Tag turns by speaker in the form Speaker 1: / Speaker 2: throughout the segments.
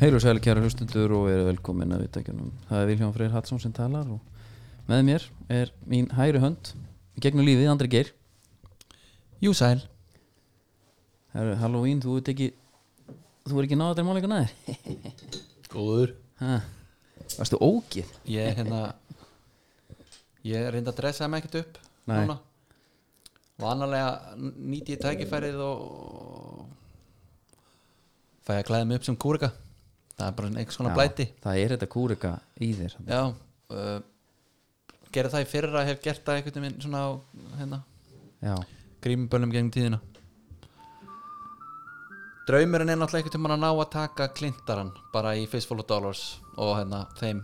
Speaker 1: Heil og sæli kæra hlustundur og eru velkomin að viðtækjunum. Það er Vilhjón Freyr Hatsson sem talar og með mér er mín hægri hönd í gegnum lífið, Andri Geir.
Speaker 2: Jú sæl
Speaker 1: Herru, Halloween, þú ert ekki, þú ert ekki náða þér máleika næðir.
Speaker 2: Góður
Speaker 1: Ha, varstu ógið?
Speaker 2: Ég er hérna Ég reyndi að dressa mig ekkert upp
Speaker 1: Nei.
Speaker 2: núna Vanalega nýti ég tækifærið og fæ að klæða mig upp sem kúrika Það er bara einhvers konar blæti
Speaker 1: Það er þetta kúrika í þér.
Speaker 2: Já uh, Gerði það í fyrra hef gert það einhvern veginn svona á hérna,
Speaker 1: Já,
Speaker 2: grímuböllum gegnum tíðina Draumurinn er náttúrulega einhvern tímann að ná að taka klintaran bara í Fistful of Dollars og hérna þeim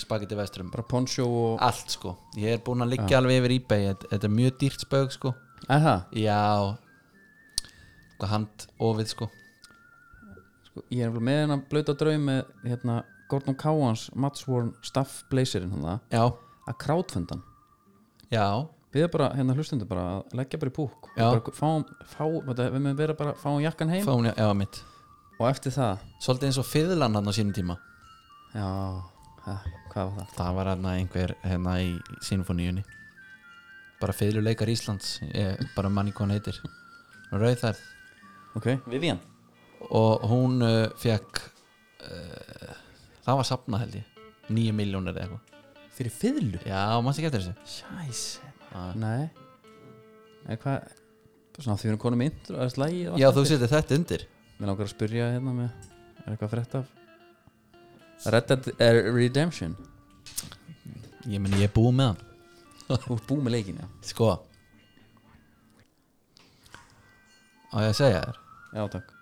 Speaker 2: spagetti vestrum
Speaker 1: bara poncho og...
Speaker 2: allt sko, ég er búinn að liggja alveg yfir eBay, þetta, þetta er mjög dýrt spög sko
Speaker 1: Er það?
Speaker 2: já hvað hand ofið sko
Speaker 1: Sko, ég er nefnilega með hennar blöta draum með hérna Gordon Cowans Matsworn Staff Blazerinn hann það
Speaker 2: já,
Speaker 1: að krátfundan.
Speaker 2: já,
Speaker 1: Við bara, hérna hlustundur bara að leggja bara í púk
Speaker 2: Já.
Speaker 1: bara, fáum, fá, þetta, Við mögum vera bara að fáum jakkan heim
Speaker 2: fáum ég, já mitt
Speaker 1: og eftir það
Speaker 2: svolítið eins og fiðlan hann á sínum tíma
Speaker 1: Já, ha, hvað var það?
Speaker 2: það var hann einhver hérna í sinfoníunni bara fiðluleikar Íslands ég, bara manni hvað hann heitir Rauðar
Speaker 1: Ok, Vivian
Speaker 2: og hún uh, fekk uh, það var sapna held ég 9 miljónir eða eitthvað
Speaker 1: Fyrir fiðlu?
Speaker 2: já, mannst ekki eftir þessu
Speaker 1: Sjæs
Speaker 2: Ah.
Speaker 1: Nei En hvað, svona því við erum konum mynd og þess lagi
Speaker 2: já, þú setur þetta undir
Speaker 1: Mér langar að spyrja hérna með Er eitthvað frétt af Red Dead er Redemption
Speaker 2: ég meni ég er búið með hann
Speaker 1: Þú ert búið með leikin, já
Speaker 2: Sko Á ég að segja þér
Speaker 1: Já, takk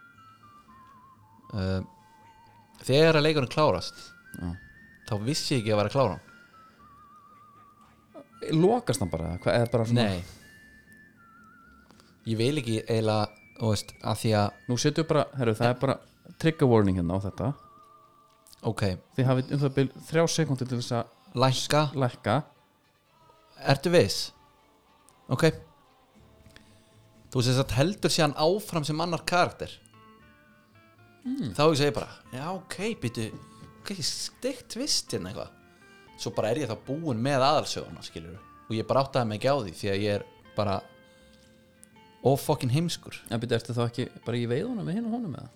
Speaker 2: uh, Þegar að leikurinn klárast
Speaker 1: já.
Speaker 2: Þá vissi ég ekki að vera að klára hann
Speaker 1: Lokast hann bara, eða hvað, eða bara svona
Speaker 2: Nei Ég vil ekki eiginlega Þú veist, að því að
Speaker 1: Nú setjum við bara, herru, það er bara trigger warning hérna á þetta
Speaker 2: Ok,
Speaker 1: Þið hafið um það byrð þrjá sekundi til þess að
Speaker 2: lækka
Speaker 1: lækka
Speaker 2: Ertu viss? Ok Þú sem sagt heldur síðan áfram sem annar karakter Þá ég segi bara Já ok, býtu Ok, steikt tvist hérna eitthvað Svo bara er ég þá búinn með aðalsöguna skilur Og ég bara áttaði mig ekki á því Því að ég er bara Ófokkin heimskur
Speaker 1: En byrja, ertu þá ekki bara í veiðunum með hinn og honum eða?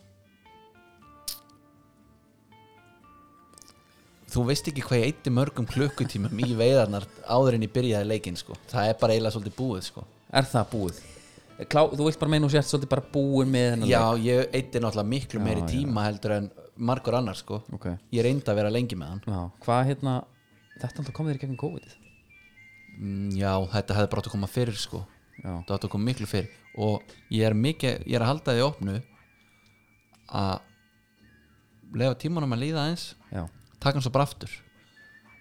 Speaker 2: Þú veist ekki hvað ég eitti mörgum klukkutímum í veiðarnar áður en ég byrjaði leikinn sko Það er bara eiginlega svolítið búið sko
Speaker 1: Er það búið? Eh, Klá, þú vilt bara meina og sért svolítið bara búin með hennar
Speaker 2: Já, ég eitti náttúrulega miklu meiri tíma heldur en margur annar sko
Speaker 1: Ok.
Speaker 2: Ég reyndi að vera lengi með hann
Speaker 1: Já, hvað hérna Þetta alltaf kom þér í gegnum COVID-ið
Speaker 2: Mm, Já, þetta hefði bara átt að koma fyrir sko
Speaker 1: Já,
Speaker 2: Þetta átt að koma miklu fyrir Og ég er, mikið, ég er að halda því opnu Að Lega tímanum að líða eins
Speaker 1: já,
Speaker 2: Takk hann svo bara aftur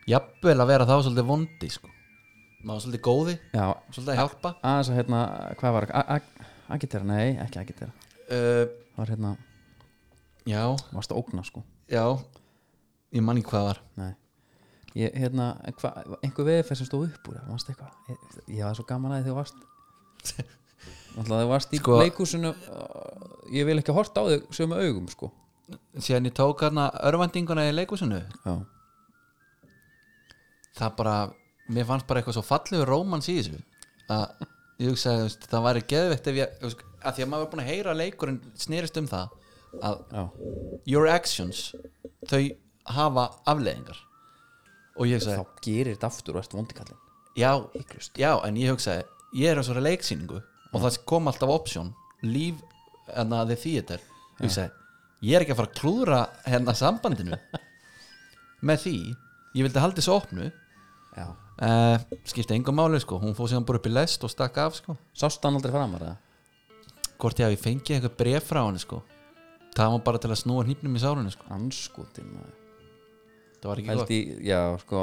Speaker 2: Jafnvel að vera þá svolítið vondi sko Má svolítið góði
Speaker 1: já
Speaker 2: Svolítið að hjálpa
Speaker 1: Aðeins að hérna, hvað var A- A- Agitera, nei, ekki Agitera
Speaker 2: uh,
Speaker 1: Það var hérna,
Speaker 2: Já,
Speaker 1: varst að ógna sko
Speaker 2: já Ég man ekki hvað var
Speaker 1: Nei Ég, hérna, en hva, einhver veðferð sem stóð upp úr það, varst eitthvað Ég, ég var svo gaman að því þú varst Alltaf þú varst í
Speaker 2: Sko-
Speaker 1: leikúsinu uh, Ég vil ekki horta á þig sömu augum sko
Speaker 2: Síðan ég tók hérna örvendinguna í leikúsinu
Speaker 1: Já
Speaker 2: það bara, mér fannst bara eitthvað svo fallegur rómans í þessu að ég hugsaði, þú veist, það væri geðveitt ef ég, þú veist, að því að maður er búin að heyra að leikurinn snerist um það að
Speaker 1: Já,
Speaker 2: your actions þau hafa afleðingar og ég hugsaði,
Speaker 1: þá gerir þetta aftur og ert vondikallin
Speaker 2: já, já en ég hugsaði, ég er á svona leiksýningu og það kom alltaf option líf en að þið þýðir ég hugsaði, ég er ekki að fara að klúðra hérna sambandinu með því, ég vildi haldi þessu opnu
Speaker 1: Já
Speaker 2: Uh, skipti engum máli sko, hún fóð síðan bara upp í lest og stakk af sko
Speaker 1: Sást hann aldrei framar eða?
Speaker 2: hvort ég hafi fengið eitthvað bref frá henni sko það var bara til að snúa hnýpnum í sárunni sko
Speaker 1: Anskotin maður.
Speaker 2: það var ekki gott
Speaker 1: Held í, já sko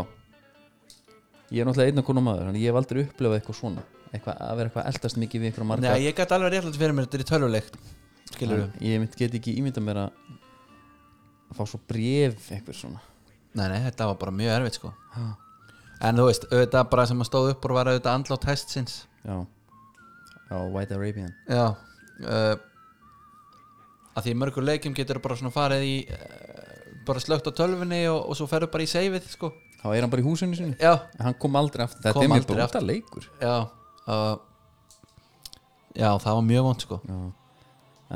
Speaker 1: Ég er náttúrulega einn og konum maður Þannig ég hef aldrei upplefað eitthvað svona eitthvað, Að vera eitthvað eldast mikið við einhverja marga
Speaker 2: Nei, ég gæti alveg réttlega fyrir mér þetta er í tölvuleikt skilur
Speaker 1: ég, mynd get ekki ímyndað mér að að fá svo bref eitthvað svona
Speaker 2: nei, nei, þetta var bara mjög erfitt sko en þú veist, auðvitað bara sem að stóð upp úr var auðvitað andlátt hestsins
Speaker 1: Já Já, White Arabian
Speaker 2: já Eh, uh, að því í mörgur leikjum getur bara svona farið í uh, bara slögt á tölfunni og, og svo ferðu bara í seifið sko.
Speaker 1: þá er hann bara í húsinu sinu
Speaker 2: já,
Speaker 1: hann kom aldrei aftur, þetta
Speaker 2: Kom
Speaker 1: er mér
Speaker 2: aldrei
Speaker 1: bóta leikur
Speaker 2: já uh, já, það var mjög vond sko.
Speaker 1: já.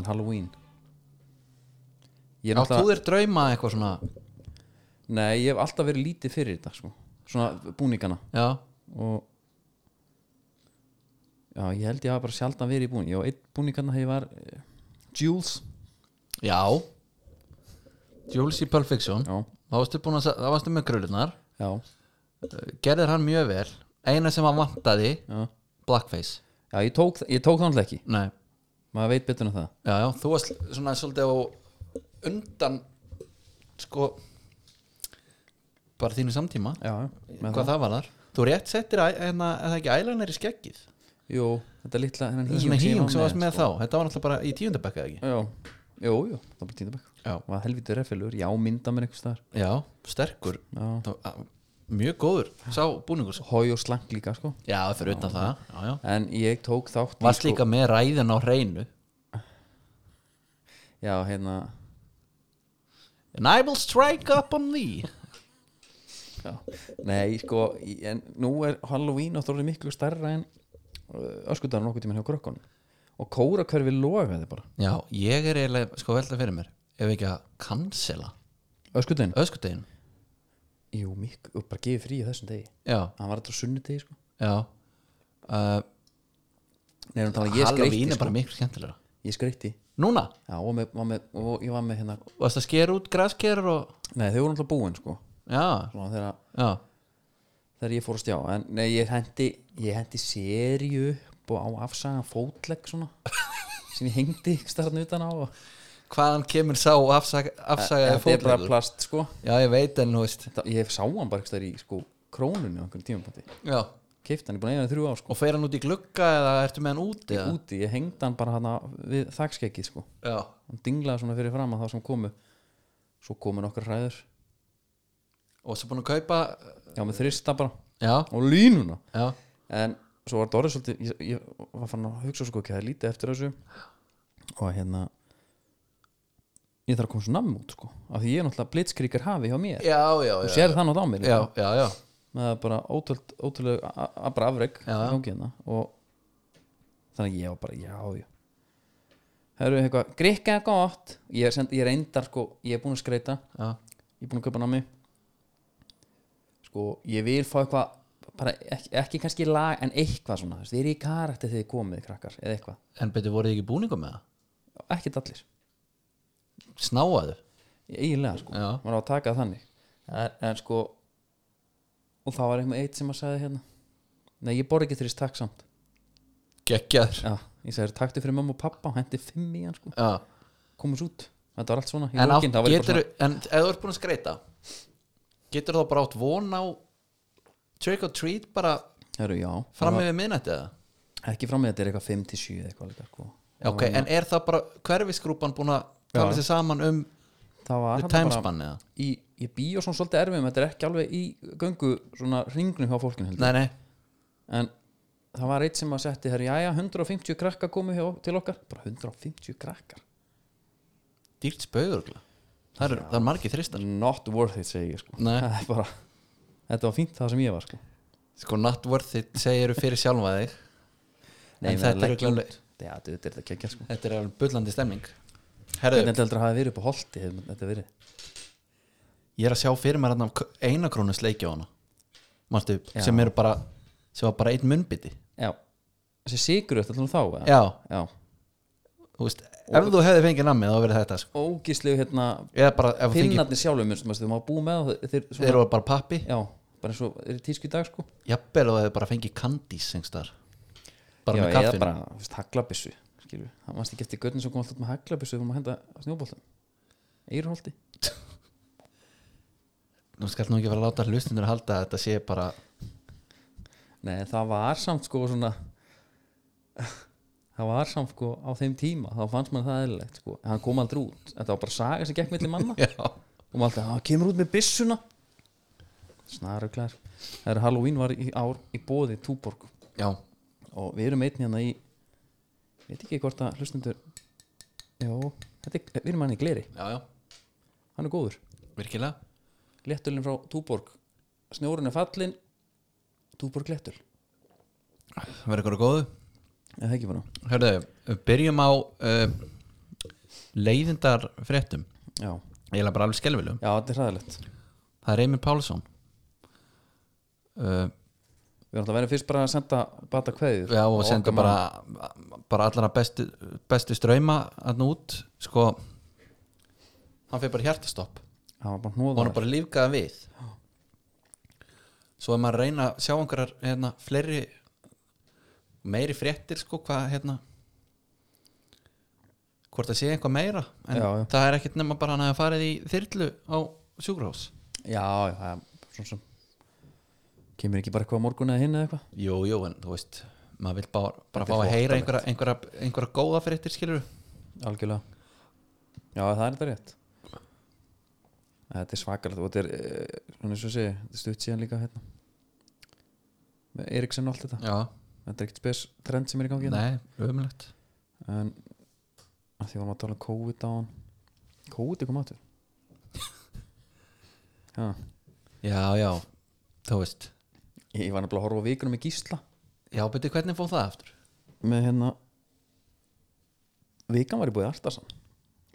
Speaker 1: en Halloween ég er
Speaker 2: já, þú
Speaker 1: náttúrulega
Speaker 2: er drauma eitthvað svona
Speaker 1: nei, ég hef alltaf verið lítið fyrir þetta sko. svona búningana
Speaker 2: já,
Speaker 1: og já, ég held ég hafa bara sjaldan verið í búning ég á einn búningarna þegar ég var eh, Jules
Speaker 2: já Jules í Pulp Fiction
Speaker 1: já,
Speaker 2: þá varstu, búin að, þá varstu með krullunar
Speaker 1: já,
Speaker 2: gerðir hann mjög vel eina sem hann vantaði
Speaker 1: já,
Speaker 2: blackface
Speaker 1: já ég tók, ég tók þannig ekki
Speaker 2: Nei.
Speaker 1: maður veit betur en það
Speaker 2: já, já, þú varst svona svolítið á undan sko bara þínu samtíma
Speaker 1: já, með
Speaker 2: hvað það var þar þú rétt settir að, en að, en það ekki ælanir í skeggið
Speaker 1: Jú, þetta litla þennan
Speaker 2: það er svona
Speaker 1: ég var
Speaker 2: híjung sem varst með sko. þá þetta var náttúrulega bara í tíundabekka ekki
Speaker 1: Já, jú, jú, það var bara tíndabæk
Speaker 2: já,
Speaker 1: Var helvítið refilur, já, mynda mér einhvers þar
Speaker 2: já sterkur
Speaker 1: Já,
Speaker 2: Það var, a- mjög góður sá búningur sko.
Speaker 1: hói og slank líka, sko
Speaker 2: já, fyrir utan það já, já.
Speaker 1: En ég tók þátt í,
Speaker 2: varst
Speaker 1: sko-
Speaker 2: líka með ræðin á hreinu
Speaker 1: Já, hérna
Speaker 2: and I will strike up on thee
Speaker 1: já. Nei, sko, í- en nú er Halloween og það er miklu stærra en öskudagur nokkuð tímann hjá krökkunum og kórakörfi logaði bara
Speaker 2: já, ég er eiginlega sko velta fyrir mér ef ekki að cancela
Speaker 1: öskudaginn,
Speaker 2: öskudegin
Speaker 1: jú, miklu, og bara gefið frí á þessum degi
Speaker 2: já,
Speaker 1: hann var þetta á sunnudegi, sko
Speaker 2: já uh,
Speaker 1: Nei, hann talaði, ég
Speaker 2: Halloween
Speaker 1: skreitti,
Speaker 2: er bara
Speaker 1: sko
Speaker 2: miklu skemmtilega
Speaker 1: Ég skreitti,
Speaker 2: núna,
Speaker 1: já, og, með, var með, og ég var með hérna
Speaker 2: varst að skera út graskerur og
Speaker 1: Nei, þau voru alltaf búin, sko
Speaker 2: já,
Speaker 1: Svona þegar að
Speaker 2: já,
Speaker 1: þegar ég fór að stjá en nei, ég hendi, ég hendi serju upp og á afsagan fótlegg svona sem ég hengdi starðan utan á og,
Speaker 2: hvaðan kemur sá afsaga, afsagaði
Speaker 1: þetta er bara
Speaker 2: fótlegur
Speaker 1: plast sko
Speaker 2: já, ég veit en þú veist
Speaker 1: þetta, ég sá hann bara eitthvað í sko krónunni á einhverjum tímapunkti
Speaker 2: já.
Speaker 1: keift hann, ég búin að eiga hann í þrjú ár sko
Speaker 2: og fer hann út í glugga eða ertu með hann úti eða?
Speaker 1: úti, ég hengdi hann bara hana við þakskeggið sko
Speaker 2: já,
Speaker 1: hann dinglaði svona fyrir fram að þá sem komu svo komu nokkar hræður
Speaker 2: og svo búin að kaupa
Speaker 1: já, með þrista bara
Speaker 2: já,
Speaker 1: og línuna
Speaker 2: já,
Speaker 1: en svo var Dóri svolítið ég, ég var fann að hugsa sko ekki það er lítið eftir þessu og hérna ég þarf að koma svo namn út sko af því ég er náttúrulega blitzkríkar hafi hjá mér
Speaker 2: já, já
Speaker 1: þú
Speaker 2: já,
Speaker 1: sér það nátt á mér
Speaker 2: já,
Speaker 1: líka.
Speaker 2: já, já.
Speaker 1: það er bara ótrúlega ótrúleg, bara afreg
Speaker 2: Já, já.
Speaker 1: hérna, og þannig að ég var bara já, já Herru, eitthvað, grikka er gott ég er, send, ég er endar sko, ég er búin að skreita
Speaker 2: já.
Speaker 1: ég er búin að kaupa námi sko, ég vil fá eitthvað bara ekki, ekki kannski lag en eitthvað svona, þú veist, þið eru í karakter þegar þið komið krakkar, eða eitthvað,
Speaker 2: en betur voruð þið ekki búningum með það
Speaker 1: ekkert allir
Speaker 2: snáaðu
Speaker 1: eiginlega, sko,
Speaker 2: já,
Speaker 1: maður á að taka það þannig en, en sko og þá var einhver eitt sem að sagði hérna nei, ég borði ekki þrýst takk samt
Speaker 2: geggjaður
Speaker 1: já, ég sagði, taktu fyrir mamma og pappa hendi fimm í hann, sko,
Speaker 2: já
Speaker 1: komus út þetta var allt svona, í
Speaker 2: en, átt,
Speaker 1: lokin, þá var ég bara
Speaker 2: getur, en ef þú ert búin að skreita getur þá bara átt von á trick or treat bara
Speaker 1: svona herru, já,
Speaker 2: fram yfir miðnætti eða
Speaker 1: ekki fram með þetta er eitthvað 5 til 7 eitthvað líka, sko
Speaker 2: Já, ok, en er það bara hverfisgrúpan búin að tala sér saman um
Speaker 1: það var þarna bara-
Speaker 2: timespan eða?
Speaker 1: í, í bíó svona svolítið erfið þetta er ekki alveg í göngu svona ringnum hjá fólkinu heldur
Speaker 2: Nei, nei,
Speaker 1: en það var eitt sem að setti hér jæja 150 krakkar komu hjá, til okkar bara 150 krakkar
Speaker 2: dýrt spauður það eru, það eru margir þristar
Speaker 1: not worth it segi ég sko
Speaker 2: Nei.
Speaker 1: Það er bara, þetta var fínt það sem ég var sko
Speaker 2: Sko, not worth it segir þú fyrir sjálfa þig
Speaker 1: Nei,
Speaker 2: En
Speaker 1: menn,
Speaker 2: þetta er
Speaker 1: leggjum-
Speaker 2: örugglega-
Speaker 1: Já, þetta þetta er þetta kekja sko
Speaker 2: Þetta er alveg bullandi stemning
Speaker 1: Hvernig
Speaker 2: Herðu,
Speaker 1: þetta heldur að hafa verið upp á holti hefði þetta verið
Speaker 2: ég er að sjá fyrir mér hann af einakrónu sleikja á hana Manstu,
Speaker 1: Já.
Speaker 2: sem eru bara sem var bara einn munnbytti
Speaker 1: Já, þessi sigur þetta allan þá eða?
Speaker 2: Já,
Speaker 1: Já,
Speaker 2: þú veist, ef þú hefði fengið nammið þá verið þetta sko.
Speaker 1: ógíslegu hérna
Speaker 2: Eða bara, ef þú fengið,
Speaker 1: pinnarnir sjálfum minnst, þú maður búið með það, þeir,
Speaker 2: þeir
Speaker 1: svona,
Speaker 2: eru bara pappi
Speaker 1: Já, bara eins og er í tísku í dag sko
Speaker 2: Jafnvel og hefði bara fengið kandís einhverstaðar Bara
Speaker 1: já,
Speaker 2: með kaffin
Speaker 1: eða bara þú veist, haglabissu skilur. það mannst ekki eftir göttin sem kom alltaf með haglabissu þegar maður henda snjóboltum Eirholti
Speaker 2: Nú skal nú ekki fara að láta hlustundur að halda að þetta sé bara
Speaker 1: nei það var samt sko svona það var samt sko á þeim tíma þá fannst maður það eðlilegt sko en hann kom aldrei út þetta var bara saga sem gekk milli manna
Speaker 2: Já,
Speaker 1: og maður alltaf hann kemur út með bissuna snaruglar það er Halloween var í ár í bóði Túborg
Speaker 2: já,
Speaker 1: og við erum einn hérna í ég veit ekki hvort að hlustundur já, þetta er, við erum hann hérna í gleri
Speaker 2: já, já.
Speaker 1: hann er góður
Speaker 2: virkilega
Speaker 1: Léttulinn frá Túborg Snjórun er fallin Túborg léttul
Speaker 2: verður ykkur að góðu
Speaker 1: Eða ekki bara
Speaker 2: Hörðu, byrjum á uh, leiðindar fréttum
Speaker 1: Já,
Speaker 2: eiginlega bara alveg skelfilegum
Speaker 1: já þetta er hræðilegt
Speaker 2: það er Reymir Pálsson uh,
Speaker 1: Við erum alltaf verið fyrst bara að senda bata kveðið
Speaker 2: já, og senda bara, bara allra bestu, bestu ströyma hann út sko hann fyrir bara hjartastopp
Speaker 1: Það var bara
Speaker 2: og hann er
Speaker 1: hnóðar
Speaker 2: bara lífgaða við svo er maður að reyna að sjá einhverjar hérna, fleiri meiri fréttir sko hvað hérna hvort það sé eitthvað meira en
Speaker 1: Já, já.
Speaker 2: það er ekkert nema bara hann að farið í þyrlu á sjúkrahús
Speaker 1: Já, já, það er svona sem Kemur ekki bara eitthvað á morgun eða hinn eða eitthvað
Speaker 2: jú, jú, en þú veist maður vil bara, bara
Speaker 1: Þetta
Speaker 2: fá
Speaker 1: er
Speaker 2: að heyra
Speaker 1: hróttalegt.
Speaker 2: einhverja, einhverja, einhverja góða fréttir skilur
Speaker 1: Algjörlega Já, það er þetta rétt Þetta er svakalegt og þetta er eh, svona eins og ég segi, þetta er stutt síðan líka hérna með Eriksen og allt þetta
Speaker 2: já,
Speaker 1: Þetta er ekkert spes trend sem er í gangi hérna.
Speaker 2: nei, ömulegt
Speaker 1: en að því vorum að tala um COVID á hann COVID er komað til Já,
Speaker 2: já, já, þú veist
Speaker 1: ég ég var nefnilega að horfa á vikunum í gísla
Speaker 2: já, betur hvernig fóð það aftur
Speaker 1: með hérna vikan var í búið Artarsan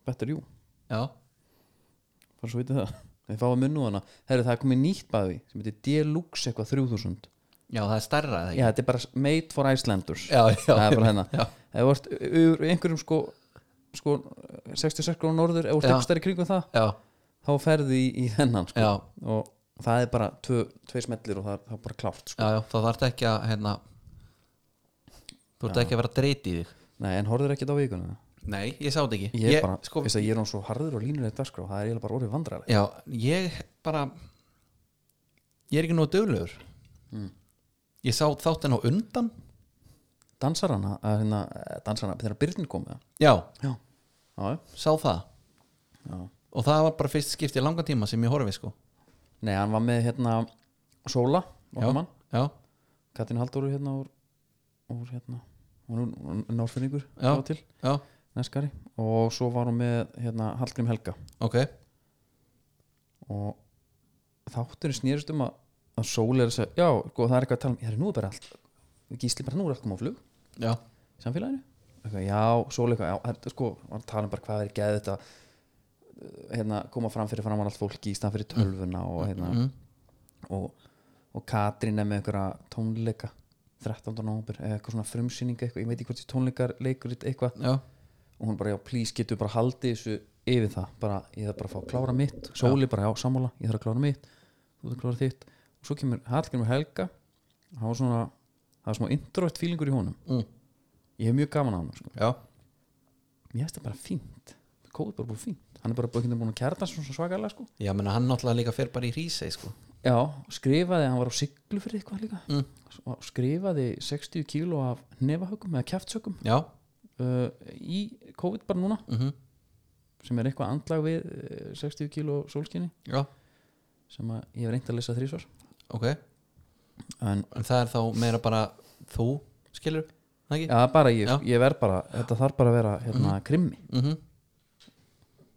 Speaker 1: Better You,
Speaker 2: já,
Speaker 1: bara svo vitið það Þið fáið munn og um hana, herru það er komið nýtt baði sem heitir Deluxe eitthvað 3000
Speaker 2: já, það er stærra eða
Speaker 1: Já, þetta er bara made for Icelanders
Speaker 2: já, já,
Speaker 1: Það er bara hérna
Speaker 2: já.
Speaker 1: Ef þú ert yfir einhverjum sko, sko 66 grónu norður, ef þú ert
Speaker 2: Já.
Speaker 1: ekki stærri kringum það
Speaker 2: já,
Speaker 1: þá ferði í, í þennan sko.
Speaker 2: já,
Speaker 1: og það er bara tvö, tvei smellir og það er, það er bara klárt sko.
Speaker 2: já, já þá þarf ekki að hérna, þú ert ekki að vera að dreyti í þig
Speaker 1: Nei, en horfður ekki þetta á vikuna
Speaker 2: nei, ég sá þetta ekki
Speaker 1: ég, bara,
Speaker 2: sko,
Speaker 1: veist að ég er hann svo harður og línulega dagskrá, það er eiginlega bara orðið vandræðilegt
Speaker 2: já, ég bara ég er ekki nú döglegur Mm. ég sá þáttinn á undan
Speaker 1: dansar hana, að hérna, eh, dansar hana þegar Byrnin kom með
Speaker 2: já,
Speaker 1: já. Já,
Speaker 2: sá það
Speaker 1: já.
Speaker 2: og það var bara fyrst skipti í langan tíma sem ég horfi sko
Speaker 1: Nei, hann var með hérna Sóla,
Speaker 2: já,
Speaker 1: okkar mann
Speaker 2: já,
Speaker 1: Katrín Halldóru hérna úr, úr hérna, hún er nórfinningur
Speaker 2: Já.
Speaker 1: til,
Speaker 2: já,
Speaker 1: neskari og svo var hún með hérna Hallgrím Helga
Speaker 2: ok
Speaker 1: og þátturinn snýrist um að, að sól er að segja, já, sko, það er eitthvað að tala um ég er nú er bara allt gísli bara nú er allt koma á flug
Speaker 2: já,
Speaker 1: í samfélaginu eitthvað, já, sól eitthvað, já, það er sko var að tala um bara hvað er geð þetta hérna, koma fram fyrir framan allt fólki í stand fyrir tölvuna og hérna
Speaker 2: mm.
Speaker 1: og, og Katrín er með einhverja tónleika 13. nómur, eitthvað svona frumsýning eitthvað, ég veit ekki hvort því tónleikar leikur eitthvað
Speaker 2: já,
Speaker 1: og hún bara, já, please, getur bara haldið þessu yfir það, bara, ég þarf bara að fá að klára mitt sóli bara, já, sammála, ég þarf að klára mitt þú þarf að klára þitt og svo kemur Hallgrimur Helga það var svona, það var smá introvert fílingur í honum
Speaker 2: mm.
Speaker 1: ég hef mjög gaman á honum, sko
Speaker 2: já,
Speaker 1: mér finnst það bara fínt, kóðið bara búið fínt hann er bara búin búin að kjarta sig svona svakalega, sko
Speaker 2: já, menna hann náttúrulega líka fer bara í rísei sko
Speaker 1: já, skrifaði, hann var á siglu fyrir eitthvað líka
Speaker 2: Mm.
Speaker 1: og skrifaði 60 kíló af nefahögum eða kjaftsögum
Speaker 2: já,
Speaker 1: uh, í COVID bara núna
Speaker 2: mhm,
Speaker 1: sem er eitthvað andlag við uh, 60 kíló sólskinni
Speaker 2: já,
Speaker 1: sem að ég hef reynd að lesa þrísvar
Speaker 2: ok
Speaker 1: en
Speaker 2: en það er þá meira bara þú skilur það ekki?
Speaker 1: já, bara ég,
Speaker 2: Já.
Speaker 1: ég verð bara, þetta þarf bara að vera hérna, krimmi
Speaker 2: Mm -hmm.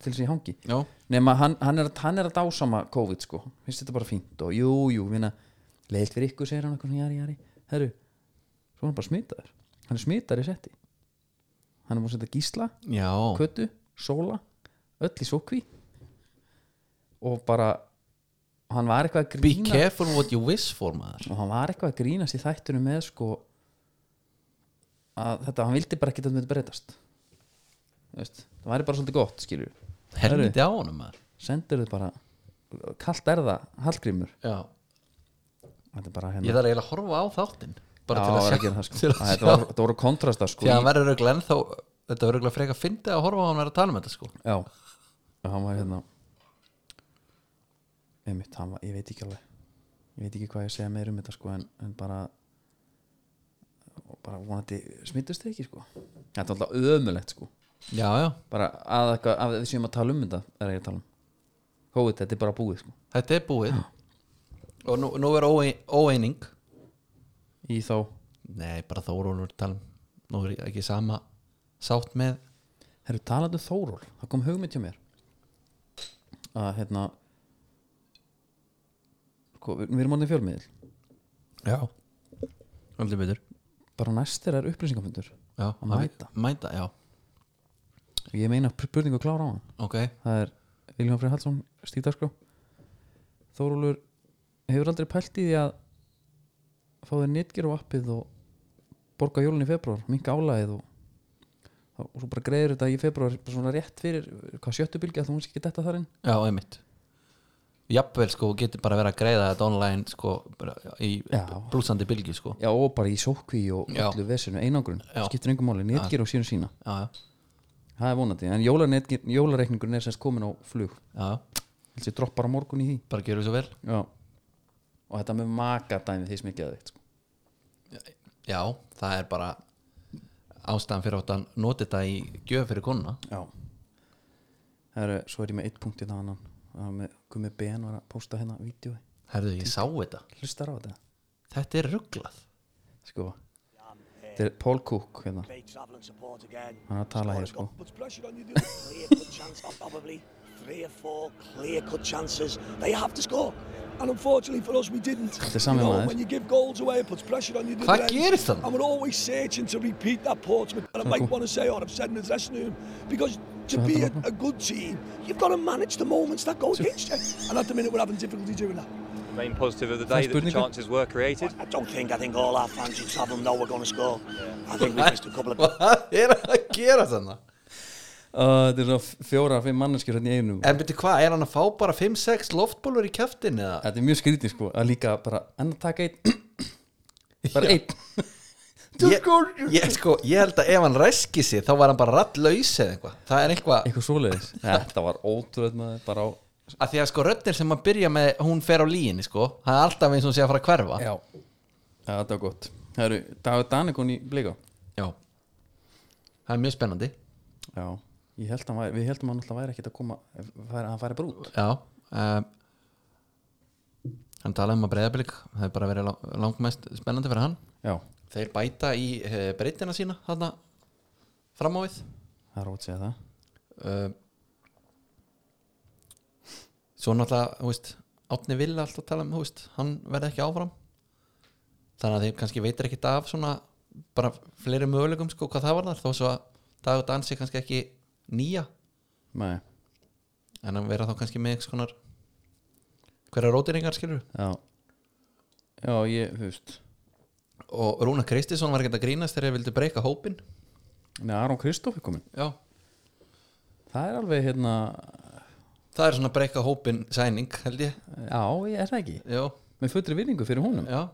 Speaker 1: til þess að ég hangi
Speaker 2: já,
Speaker 1: nema hann, hann, er, að- hann er að dásama COVID sko, finnst þetta bara fínt og jú, jú, minna, leilt fyrir ykkur segir hann eitthvað, jari, jari, herru svo er hann bara smitaður, hann er smitar í setti hann er múið að setja gísla
Speaker 2: já,
Speaker 1: kötu, sóla öll í sókví og bara hann var eitthvað að
Speaker 2: be
Speaker 1: grína
Speaker 2: careful what you wish for maður
Speaker 1: og hann var eitthvað að grínast í þættunum með sko að þetta, hann vildi bara ekki að þetta myndi breytast Þú veist, það væri bara svolítið gott skilur,
Speaker 2: helviti á honum maður
Speaker 1: sendur þau bara kalt er það, hallgrímur
Speaker 2: já.
Speaker 1: þetta er bara
Speaker 2: ég
Speaker 1: hérna
Speaker 2: þarf eiginlega að horfa á þáttinn
Speaker 1: Já,
Speaker 2: bara til að
Speaker 1: það er
Speaker 2: sjá
Speaker 1: að gera það, sko.
Speaker 2: til
Speaker 1: Æ,
Speaker 2: að sjá.
Speaker 1: þetta var- þetta voru kontrastar sko
Speaker 2: því að
Speaker 1: í-
Speaker 2: hann verður auðvitað ennþá þetta verður auðvitað freka að fyndi að horfa á hann verður að tala um þetta sko
Speaker 1: Já, og hann var hérna einmitt, hann var, ég veit ekki alveg ég veit ekki hvað ég að segja meir um þetta sko en, en bara og bara vonandi smittust þið ekki sko þetta er alltaf ömulegt sko
Speaker 2: já, já,
Speaker 1: bara að, eitthvað- að við séum að tala um þetta er ég að tala um COVID, þetta er bara búið sko
Speaker 2: þetta er búið og nú, nú er óe- óeining
Speaker 1: í þá,
Speaker 2: nei, bara Þórólfur tala um nú er ég ekki sama sátt með
Speaker 1: herru talandi um Þóról það kom hugmynd hjá mér að hérna sko, við við erum orðin fjölmiðil
Speaker 2: Já Aldrei betur
Speaker 1: bara næstir er upplýsingafundur
Speaker 2: Já,
Speaker 1: Að mæta.
Speaker 2: Mæta, já,
Speaker 1: og ég meina spurningu að klára á hann
Speaker 2: ok
Speaker 1: það er Viljón Freyr Hallsson stíðdagskrá Þórólur hefur aldrei pælt í því að fá þér nýtgir á appið og borga jólun í februar, minka álæðið og, og svo bara greiður þetta í februar bara svona rétt fyrir hvað sjöttu bylgi að þú veist ekki detta þar inn
Speaker 2: Já, einmitt Jafnvel, sko, getur bara verið að greiða þetta online, sko, bara í
Speaker 1: Já.
Speaker 2: brúsandi bylgi, sko
Speaker 1: Já, og bara í sókví og
Speaker 2: Já.
Speaker 1: öllu vesinu einangrun,
Speaker 2: Já.
Speaker 1: skiptir engum máli nýtgir og sínu sína,
Speaker 2: Já, já,
Speaker 1: það er vonandi en jólanetgir- jólareikningurinn er semst komin á flug
Speaker 2: já, já.
Speaker 1: þessi droppar á morgun í því
Speaker 2: bara gerum við svo vel
Speaker 1: Já. og þetta með makadæmi því sem ekki að þitt sko.
Speaker 2: Já, það er bara ástæðan fyrir átt að nota þetta í gjöf fyrir konuna
Speaker 1: Já Það eru, svo er ég með eitt punkt í það annan Það var með Gumi BN var að posta hérna vídjói,
Speaker 2: Herðu, ég sá þetta
Speaker 1: hlustar á þetta
Speaker 2: Þetta er rugglað
Speaker 1: Sko, þetta er Paul Cook hérna,
Speaker 3: Great travel and support again.
Speaker 1: hann er að tala hér sko
Speaker 3: Puts pressure on you. dude. Clear cut chance, oh, probably three or four clear cut chances. They have to score, and unfortunately for us, we didn't.
Speaker 1: er Sammy
Speaker 3: You know,
Speaker 1: Myers.
Speaker 3: When you give goals away, it puts pressure on you.
Speaker 2: Hvað gerist þarna?
Speaker 3: And we're always searching to repeat that Portsmouth. And I might want to say, or I've said in the dressing room, because to be a, a good team, you've got to manage the moments that go against you. And at the minute, we're having difficulty doing that.
Speaker 4: Main positive of the day that the
Speaker 1: Sputnik.
Speaker 4: chances were created.
Speaker 3: I don't think. I think all our fans in Tottenham know we're going to score. I think we missed a couple of.
Speaker 2: Hvað er að gera þarna?
Speaker 1: uh, Þetta er svona fjóra, fimm manneskjur hérna í einu
Speaker 2: En byrju hvað, er hann að fá bara 5-6 loftbólur í kjaftin eða?
Speaker 1: Þetta er mjög skrítið sko, að líka bara enn að taka einn, bara einn
Speaker 2: Ég, ég, sko, ég held að ef hann ræski sig þá var hann bara rattlaus eða eitthvað Það er eitthvað,
Speaker 1: Eitthvað svoleiðis Þetta var ótrúð maður, bara á
Speaker 2: að því að sko röddin sem hann byrja með, hún fer á líginni sko Það er alltaf eins og hún sé að fara að hverfa
Speaker 1: Já, þetta var gott Það eru, David Danikon í blika
Speaker 2: Já. Það er mjög spennandi
Speaker 1: Já, ég held að við heldum að hann alltaf væri ekkert að koma, að hann færi bara út
Speaker 2: Já um, Hann talaði um að breyðablik Það er bara verið lang- langmest spennandi fyrir hann
Speaker 1: Já,
Speaker 2: Þeir bæta í eh, breytina sína þarna fram á við
Speaker 1: það er ótt að segja það
Speaker 2: uh, Svo náttúrulega, þú veist Átni Villa alltaf tala um, þú veist Hann verði ekki áfram Þannig að þeir kannski veitir ekkit af svona bara fleiri möguleikum sko hvað það var þar þó svo að dag og dansi kannski ekki nýja
Speaker 1: Nei,
Speaker 2: en að vera þá kannski með einhvers konar hverja rótiringar skilur
Speaker 1: já Já, ég, þú veist
Speaker 2: og Rúna Kristinsson var ekkert að grínast þegar ég vildi breyka hópin
Speaker 1: Nei, Aron Kristoff er komin
Speaker 2: já.
Speaker 1: Það er alveg hérna
Speaker 2: það er svona breyka hópin sæning held ég
Speaker 1: Já, ég er það ekki
Speaker 2: já,
Speaker 1: Með fullri virðingu fyrir honum
Speaker 2: já.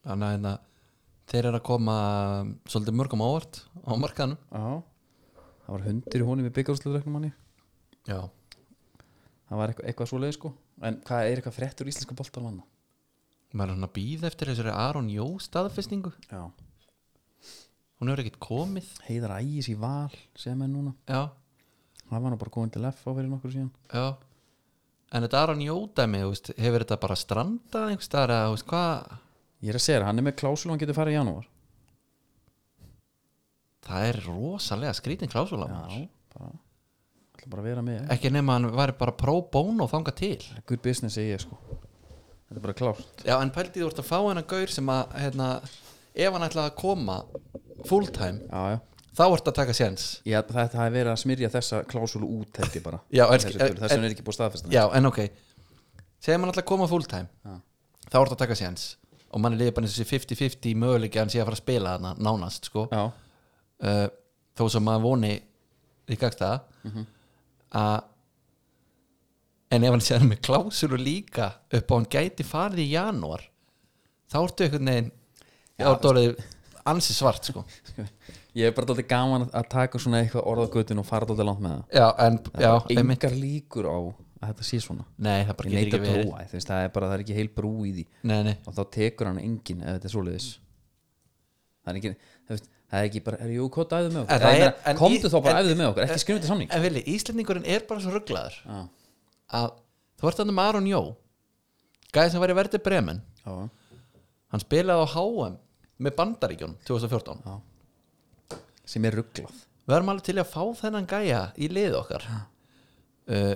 Speaker 2: þannig að hérna, þeir eru að koma um, svolítið mörgum ávart á markanum
Speaker 1: Það var hundir í honum í byggjárslöðreknum manni
Speaker 2: já,
Speaker 1: Það var eitthvað, eitthvað svoleið sko En hvað er eitthvað fréttur íslenska boltarmanna?
Speaker 2: maður er svona býð eftir þessari Aron Jó staðfestingu
Speaker 1: Já
Speaker 2: hún hefur ekkert komið
Speaker 1: Heiðar Ægis í val sem er núna
Speaker 2: já,
Speaker 1: Það var nú bara góðin til F á fyrir nokkur síðan
Speaker 2: já en þetta Aron Jó dæmi, þú veist, hefur þetta bara strandað einhvers staðar eða, þú veist, hvað
Speaker 1: Ég er að segja það, hann er með klásul og hann getur farið í janúar
Speaker 2: það er rosalega skrítin klásula
Speaker 1: Já, bara Það er bara að vera með
Speaker 2: ekki nema hann væri bara pro bono þanga til
Speaker 1: Good business segi ég sko Þetta er bara klást
Speaker 2: já en pældi þú ert að fá hennar gaur sem að hérna, ef hann ætlaði að koma full time
Speaker 1: Já, já
Speaker 2: þá ert að taka séns
Speaker 1: Já, það, það er verið að smyrja þessa klásulu út held ég bara
Speaker 2: Já, er-
Speaker 1: Þessu
Speaker 2: er-
Speaker 1: tölur, þess
Speaker 2: er-
Speaker 1: vegna er ekki búið staðfestan
Speaker 2: já en ok segjum hann ætlaði að koma full time þá ert að taka séns og mann er liðið bara eins og þessi 50-50 möguleiki að hann sé að fara að spila þarna nánast sko
Speaker 1: já,
Speaker 2: uh, þó sem maður voni í gagsta mm að en ef hann séðan með klásur og líka upp á hann gæti farið í janúar þá ertu einhvern veginn þá ertu orðið ansi svart sko
Speaker 1: Ég er bara dálítið gaman að- að taka svona eitthvað orðagutin og fara dálítið langt með það
Speaker 2: já en já, einmitt,
Speaker 1: Engar líkur á að þetta sé svona
Speaker 2: nei það bara
Speaker 1: Ég
Speaker 2: getur
Speaker 1: neita
Speaker 2: ekki
Speaker 1: að
Speaker 2: verið
Speaker 1: trúa, þú veist, það er bara, það er ekki heil brú í því
Speaker 2: nei, nei.
Speaker 1: og þá tekur hann enginn ef þetta er svoleiðis Það er ekki, þú veist, það er ekki bara, er jú, hvað æfðu með
Speaker 2: En
Speaker 1: okkur?
Speaker 2: það
Speaker 1: Ég
Speaker 2: er-
Speaker 1: meina,
Speaker 2: en
Speaker 1: Komdu
Speaker 2: í-
Speaker 1: þá bara
Speaker 2: en-
Speaker 1: æfðu með okkur, ekki skrifum þetta samning
Speaker 2: en veli, Íslendingurinn er bara svo rugglaður að þú ert þannig með Aron Jó gæði sem var í verði bremen
Speaker 1: Já,
Speaker 2: hann spilaði á HM með Bandaríkjunum 2014
Speaker 1: sem er rugglað
Speaker 2: við erum alveg til í að fá þennan gæja í liðið okkar Eh, uh,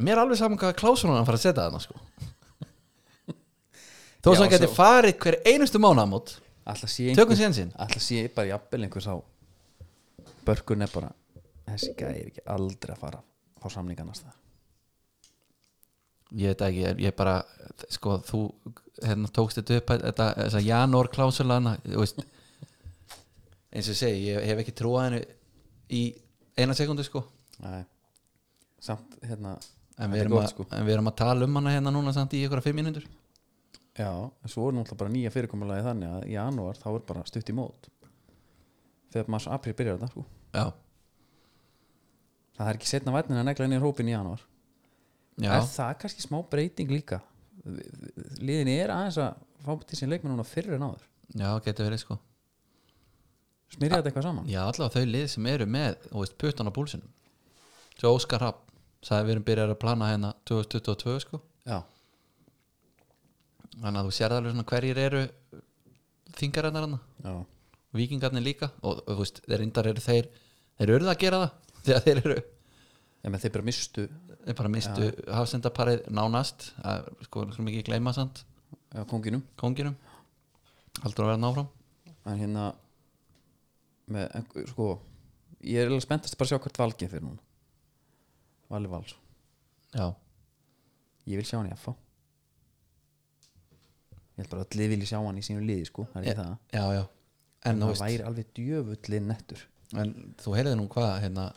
Speaker 2: mér er alveg saman hvað klásunan hann fara að setja þarna sko þó sem
Speaker 1: Já,
Speaker 2: hann geti
Speaker 1: svo-
Speaker 2: farið hver einustu mánamót
Speaker 1: Alltaf sé
Speaker 2: Tökum sénsinn.
Speaker 1: Alltaf sé bara jafnvel einhver sá Börkun er bara Þessi gæði er ekki aldrei að fara á samningannast það
Speaker 2: ég veit ekki, ég- ég bara sko, þú hérna, tókst þetta upp þetta, þessa janúar klásulana veist, eins og ég segi, ég hef ekki trúað henni í eina sekundu sko
Speaker 1: Nei. Samt hérna þetta
Speaker 2: en við,
Speaker 1: er
Speaker 2: erum
Speaker 1: gott, sko.
Speaker 2: að, en við erum að tala um hana hérna núna samt í ykkur að fimm mínútur
Speaker 1: Já, en svo er náttúrulega bara nýja fyrirkomulagi þannig að í janúar þá er bara stutt í mót Þegar mars og april byrjar þetta sko.
Speaker 2: já,
Speaker 1: Það er ekki setna vætnin að negla inn í hópin í janúar
Speaker 2: já,
Speaker 1: Er það kannski smá breyting líka Liðin er aðeins að fá til sín leikmenn núna fyrir en áður
Speaker 2: já, getur verið sko
Speaker 1: Smyrja þetta eitthvað saman
Speaker 2: já, allavega þau lið sem eru með þú veist, puttan á búlsinum svo Óskar Rapp sagði við erum byrjar að plana hérna 2022 sko
Speaker 1: Já,
Speaker 2: þannig að þú sér alveg svona hverjir eru þingarinnar hann
Speaker 1: já
Speaker 2: vikingarnir líka og, og þú veist, þeir reyndar eru þeir þeir eru að gera það þegar þeir eru
Speaker 1: En þeir bara mistu
Speaker 2: þeir bara mistu ja. hafsendaparið nánast að, sko, við skulum ekki gleyma samt
Speaker 1: á konginum
Speaker 2: konginum haldur að vera náfram
Speaker 1: en hérna með, en- sko, ég er alveg spenntast bara að sjá hvert valgið fyrir núna Vali Vals,
Speaker 2: já,
Speaker 1: ég vil sjá hann í FH ég held bara að allir vilji sjá hann í sínu liði sko, það er ekki það
Speaker 2: já, já en,
Speaker 1: en
Speaker 2: þú
Speaker 1: það
Speaker 2: veist,
Speaker 1: væri alveg djöfullin nettur
Speaker 2: en þú heyrði nú hvað hérna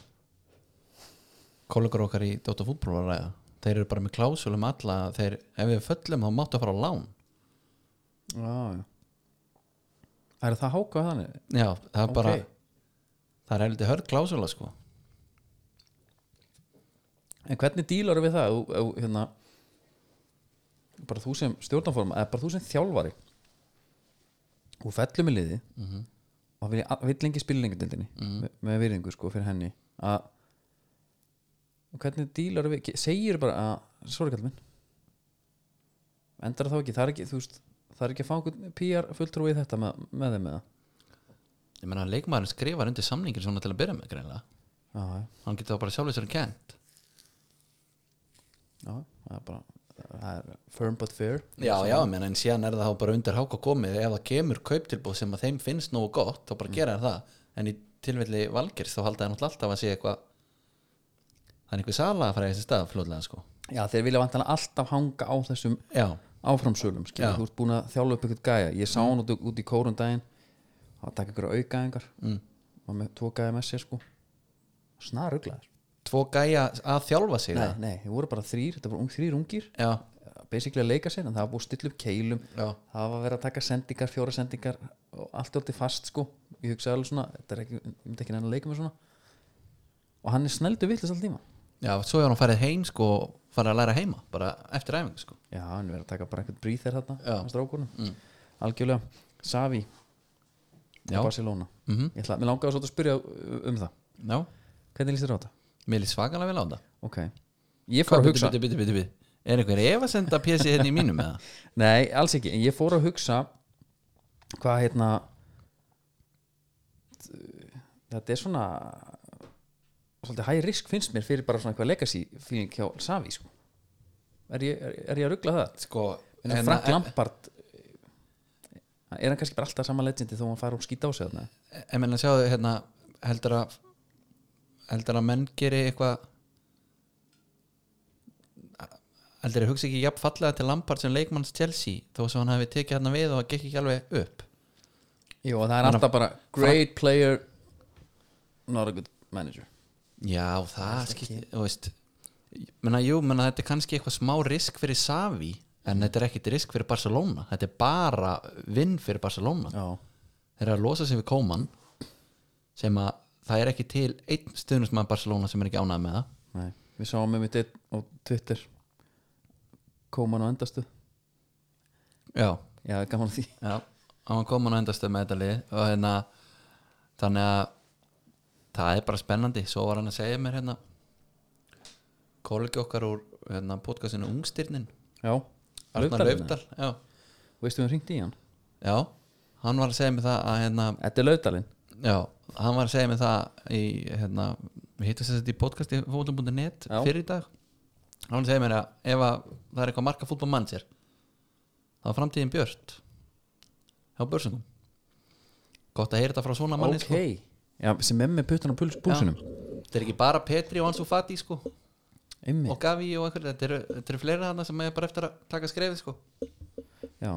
Speaker 2: kollegur okkar í Dóta fútból var að ræða þeir eru bara með klásulum alla að þeir, ef við föllum þá máttu að fara á lán
Speaker 1: já, já Það er það hákað þannig
Speaker 2: já, það er
Speaker 1: Ok.
Speaker 2: bara það er heldur hörð klásula sko
Speaker 1: En hvernig dílar við það þú, ef- hérna, bara þú sem stjórnarforma eða bara þú sem þjálfari og fellum í liði
Speaker 2: Mhm,
Speaker 1: og vil, ég- vill lengi spila lengi dildinni með, með virðingu sko fyrir henni að og hvernig dílar við ge- segir bara að, sorry kallum minn endar það þá ekki það er ekki, þú veist, það er ekki að fá einhvern PR fulltrúi í þetta með, með þeim með það
Speaker 2: ég meina leikmaðurinn skrifar undir samningin svona til að byrja með greinlega
Speaker 1: já, já,
Speaker 2: hann getur þá bara sjálfur sér kent
Speaker 1: já, það er bara það er firm but fair
Speaker 2: já, já, menn, en síðan er það þá bara undir háka komið ef það kemur kauptilbúð sem að þeim finnst nógu gott þá bara gera þær það en í tilfelli valgers þá halda það náttúrulega alltaf að sé eitthvað það er einhver sala að fara í þessi stað fljóðlega sko
Speaker 1: já, þeir vilja vantanlega alltaf hanga á þessum
Speaker 2: já,
Speaker 1: áframsölum skilur,
Speaker 2: Já.
Speaker 1: þú ert búin að þjálfa upp eitthvað gæja ég sá hann út, út í kórun daginn að taka ykkur aukaðingar mm. og með tvo gæja með sér sko snaruglaður
Speaker 2: tvo gæja að þjálfa sig
Speaker 1: nei, nei, þið voru bara þrýr, þetta voru ung, þrýr ungir
Speaker 2: já,
Speaker 1: basically að leika sér, en það var búið að stilla upp keilum
Speaker 2: Já.
Speaker 1: það var að vera að taka sendingar, fjóra sendingar og allt orðið fast sko ég hugsaði alveg svona, þetta er ekki, ég myndi ekki neina að leika með svona og hann er snældu vitlis alltíma
Speaker 2: já, svo hefur hann farið heim sko og farið að læra heima, bara eftir æfingu sko
Speaker 1: Já, hann verður að taka bara einhvern bríþer þarna
Speaker 2: Já.
Speaker 1: á
Speaker 2: Mm.
Speaker 1: strákunum, algjörlega Savi
Speaker 2: Já. Mhm.
Speaker 1: á Barcelona -hmm. Ég ætla, mér langaði svolítið að spyrja uh, um það
Speaker 2: já,
Speaker 1: Hvernig lýst þér á þetta?
Speaker 2: mér er svakalega vel á það
Speaker 1: Ok, ég fór
Speaker 2: Hvað,
Speaker 1: að
Speaker 2: byrju,
Speaker 1: hugsa
Speaker 2: byrju, byrju, byrju, byrju. Er einhver efasenda pési hérna í mínum eða?
Speaker 1: Nei, alls ekki, en ég fór að hugsa hvað hérna þetta er svona svolítið high risk finnst mér fyrir bara svona eitthvað legacy feeling hjá Savi sko. er, ég, er, er ég að ruggla það?
Speaker 2: Sko,
Speaker 1: En
Speaker 2: en-
Speaker 1: Frank
Speaker 2: en-
Speaker 1: Lampard er hann kannski bara alltaf sama legendi þó hann fara úr skýta á sig þarna
Speaker 2: en menn að sjáðu hérna heldur að heldur að menn geri eitthvað heldur að hugsa ekki jafn fallega til Lampard sem leikmanns Chelsea þó sem hann hafi tekið hérna við og það gekk ekki alveg upp
Speaker 1: Jú, og það er alltaf bara great player not a good manager
Speaker 2: já það skipti þú veist menna jú menna þetta er kannski eitthvað smá risk fyrir Savi en þetta er ekkit risk fyrir Barcelona þetta er bara vinn fyrir Barcelona
Speaker 1: Já,
Speaker 2: þeir eru að losa sig við Koman sem að það er ekki til einn stuðnusmaður Barcelona sem er ekki ánægð með það
Speaker 1: nei, við sáum um þetta á Twitter koman á endastu
Speaker 2: já,
Speaker 1: Já, gaman að því
Speaker 2: já hann kom hann á endastöð með þetta lið og hérna þannig að það er bara spennandi svo var hann að segja mér hérna kollegi okkar úr hérna, podcastinu Ungstyrnin
Speaker 1: Já,
Speaker 2: Arnar Laufdal já.
Speaker 1: Veistu við hringt í hann?
Speaker 2: já, hann var að segja mér það að hérna,
Speaker 1: Þetta er Laufdalinn
Speaker 2: já, hann var að segja mér það í hérna, við hittum þess að þetta í podcasti fótum.net
Speaker 1: Já.
Speaker 2: fyrir í dag hann var að segja mér að ef að það er eitthvað marka fútbolmann sér það var framtíðin björt hjá börsungum gott að heyra þetta frá svona manni
Speaker 1: ok já, sem er með puttan á puls,
Speaker 2: sko.
Speaker 1: pulsunum
Speaker 2: Já. þetta er ekki bara Petri og Ansu Fati sko, og
Speaker 1: einmitt,
Speaker 2: Gavi og einhverju þetta eru, þetta eru fleira þarna sem er bara eftir að taka skrefið sko.
Speaker 1: já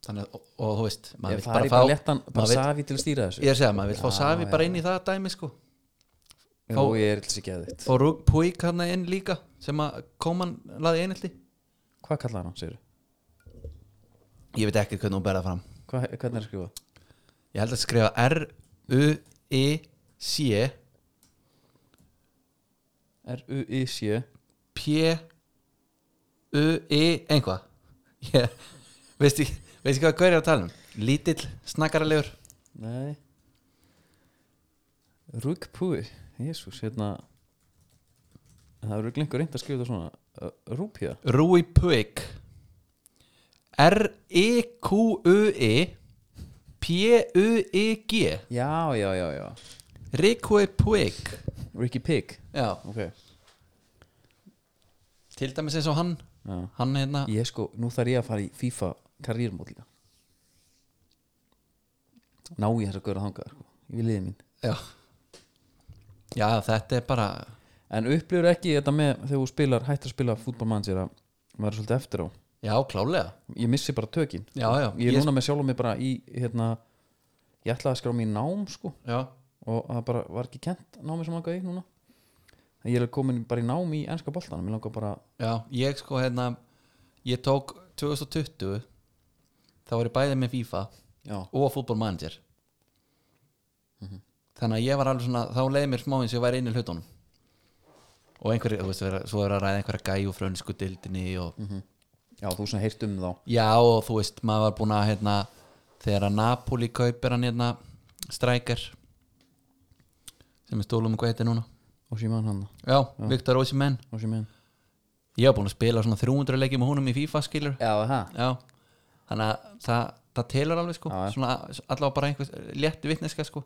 Speaker 2: Þannig, að- og, og þú veist maður
Speaker 1: ég
Speaker 2: vill
Speaker 1: fari
Speaker 2: fá
Speaker 1: bara léttan, bara
Speaker 2: maður vill-
Speaker 1: safi til að stýra þessu
Speaker 2: ég er að segja, maður vil fá
Speaker 1: Já,
Speaker 2: Savi
Speaker 1: já.
Speaker 2: bara inn í það dæmi sko.
Speaker 1: Jú, ég er alls ekki að þitt
Speaker 2: og Rúk Púík hann inn líka sem að Kóman laði einhelti
Speaker 1: hvað kallar hann, segir
Speaker 2: ég veit ekki hvernig hún berða fram
Speaker 1: Hva, hvernig er að skrifa
Speaker 2: ég held að skrifa R-U-I-C
Speaker 1: R-U-I-C
Speaker 2: P-U-I einhvað ég veist ekki, veist ekki hvað gaur er að tala um lítill, snakkaralegur
Speaker 1: nei Rúkpúi jésús, hérna það eru glengur reynd að skrifa þetta svona Rúpja
Speaker 2: Rúi Puig R-E-Q-U-I P-U-I-G
Speaker 1: já, já, já, já
Speaker 2: Rikui Puig
Speaker 1: Ricky Pig
Speaker 2: já,
Speaker 1: okay.
Speaker 2: til dæmis eins og hann
Speaker 1: Já.
Speaker 2: hann hérna,
Speaker 1: ég sko, nú þarf ég að fara í FIFA karrírumót líka ná ég þess að góra þangað sko. ég vil liðið mín
Speaker 2: já já, þetta er bara
Speaker 1: en upplifur ekki þetta með þegar þú spilar hættir að spila fútbolmann sér að maður er svolítið eftir á
Speaker 2: já, klálega
Speaker 1: ég missi bara tökin
Speaker 2: já, já,
Speaker 1: ég er núna með sjálfum mig bara í hérna, ég ætlaði að skrá mig í nám sko
Speaker 2: já,
Speaker 1: og það bara var ekki kent námi sem langaði í núna en ég er komin bara í nám í enska boltan mér langar bara
Speaker 2: já, ég sko hérna ég tók 2020 þá var ég bæðið með FIFA
Speaker 1: já,
Speaker 2: og Football Manager þannig að ég var alveg svona þá leiði mér smá eins og ég væri inn í hlutunum og einhverju, þú veist, vera- svo er að ræða einhverja gæju frá önsku dildinni og
Speaker 1: já þú svona heyrt um þá
Speaker 2: já og þú veist, maður var búin að hérna, þegar að Napoli kaupir hann hérna, strækir sem er stólum hvað heitir núna
Speaker 1: og síman hann
Speaker 2: já, Viktor Ósimenn
Speaker 1: og síman
Speaker 2: ég var búin að spila svona 300 leikið með húnum í FIFA skilur
Speaker 1: já, það
Speaker 2: já, þannig að það, það telur alveg sko,
Speaker 1: Já, já.
Speaker 2: svona allavega bara einhver létt vitneska sko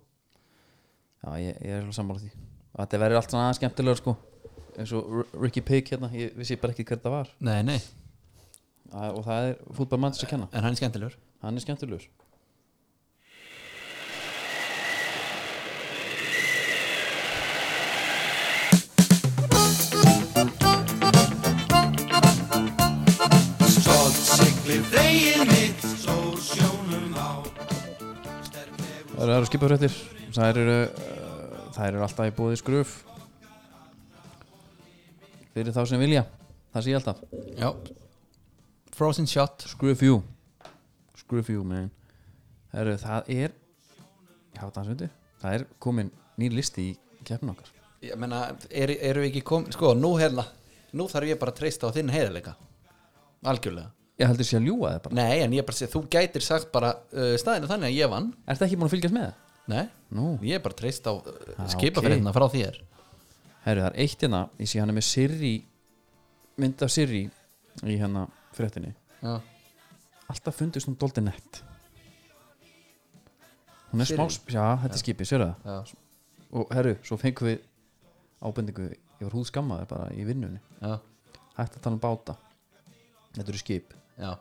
Speaker 1: Já, ég, ég er alveg sammála því Og Þetta verður allt svona aðeins skemmtilega sko eins og R- Ricky Pig hérna, ég vissi bara ekki hver það var
Speaker 2: nei, nei,
Speaker 1: Æ, og það er fútbolmann sem kenna
Speaker 2: en hann er skemmtilegur
Speaker 1: hann er skemmtilegur Það eru skipafréttir Það eru uh, það eru alltaf í búið skröf fyrir þá sem vilja það sé ég alltaf
Speaker 2: já. Frozen Shot
Speaker 1: Screw you Screw you man Heru, Það er Já, dansundi Það er komin nýr listi í keppin okkar
Speaker 2: ég meina, er, eru við ekki kom sko, nú hérna, nú þarf ég bara að treysta á þinn heiðarleika algjörlega
Speaker 1: Ég heldur sé að ljúga þið bara
Speaker 2: nei, en ég bara sé, þú gætir sagt bara uh, staðinu þannig að ég vann
Speaker 1: Er það ekki búin að fylgjast með?
Speaker 2: nei,
Speaker 1: Nú
Speaker 2: ég er bara að treysta á uh,
Speaker 1: Ah,
Speaker 2: skipafriðna frá þér
Speaker 1: Herru, það er eitt hérna Ég sé hann er með Sirri Mynda Sirri Í hérna fréttinni
Speaker 2: já.
Speaker 1: Alltaf fundist hún dóldi nett Hún er
Speaker 2: Sirrý?
Speaker 1: smá sp- Já, þetta er skipið, sér það
Speaker 2: Já.
Speaker 1: Og herru, svo fengum við ábendingu Ég var húðskammaði bara í vinnunni
Speaker 2: Já.
Speaker 1: Hætti að tala um báta Þetta eru skip
Speaker 2: Já.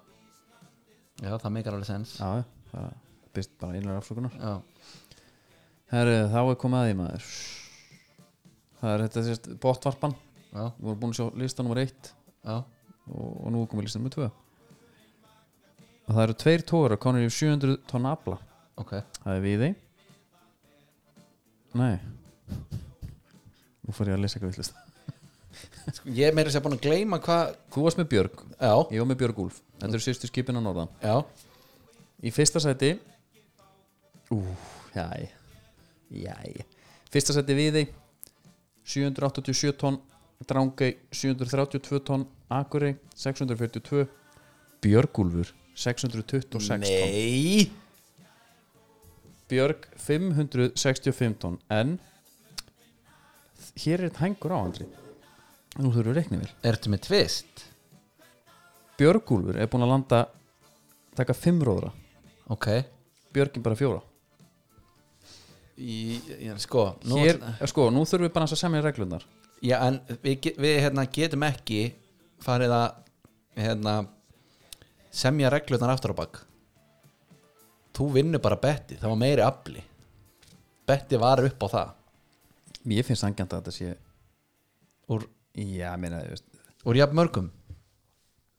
Speaker 2: já, það meikar alveg sens
Speaker 1: Já, já, það byrst bara innlega afsökunar
Speaker 2: já.
Speaker 1: Herru, þá er komið að því maður Það er þetta sérst botvarpan
Speaker 2: já,
Speaker 1: Við vorum búin að sjá lista nummer 1
Speaker 2: já,
Speaker 1: og, og nú er komið lista nummer 2 Og það eru tveir tóra konur í 700 tonn afla
Speaker 2: ok
Speaker 1: Það er við þeim Nei Nú fór ég að lesa eitthvað villist
Speaker 2: Sko, Ég er meira sér búin að gleyma hvað
Speaker 1: Þú varst með Björg,
Speaker 2: Já,
Speaker 1: ég var með Björg Úlf Þetta eru sérstu skipin á norðan
Speaker 2: já,
Speaker 1: Í fyrsta sæti Ú, jæ Jæ Fyrsta sæti viði 787 tonn Drangei 732 tonn Akurey 642 Björgúlfur 626 tonn
Speaker 2: Nei
Speaker 1: Björg 565 tonn En Hér er þetta hengur á andri Nú þurfum við reiknið vel
Speaker 2: Ertu með tvist?
Speaker 1: Björgúlfur er búin að landa Taka 5 róðra
Speaker 2: Ok
Speaker 1: Björgin bara 4
Speaker 2: Í, já, Sko, nú
Speaker 1: Hér, sko, nú þurfum við bara að semja reglundar
Speaker 2: Já, en við, ge- við hérna, getum ekki farið að hérna, semja reglurnar aftur á bak þú vinnur bara betti það var meiri afli betti var upp á það
Speaker 1: Mér finnst sangjant að þetta sé
Speaker 2: úr,
Speaker 1: Já, ég meina, þú veist,
Speaker 2: úr jafn mörgum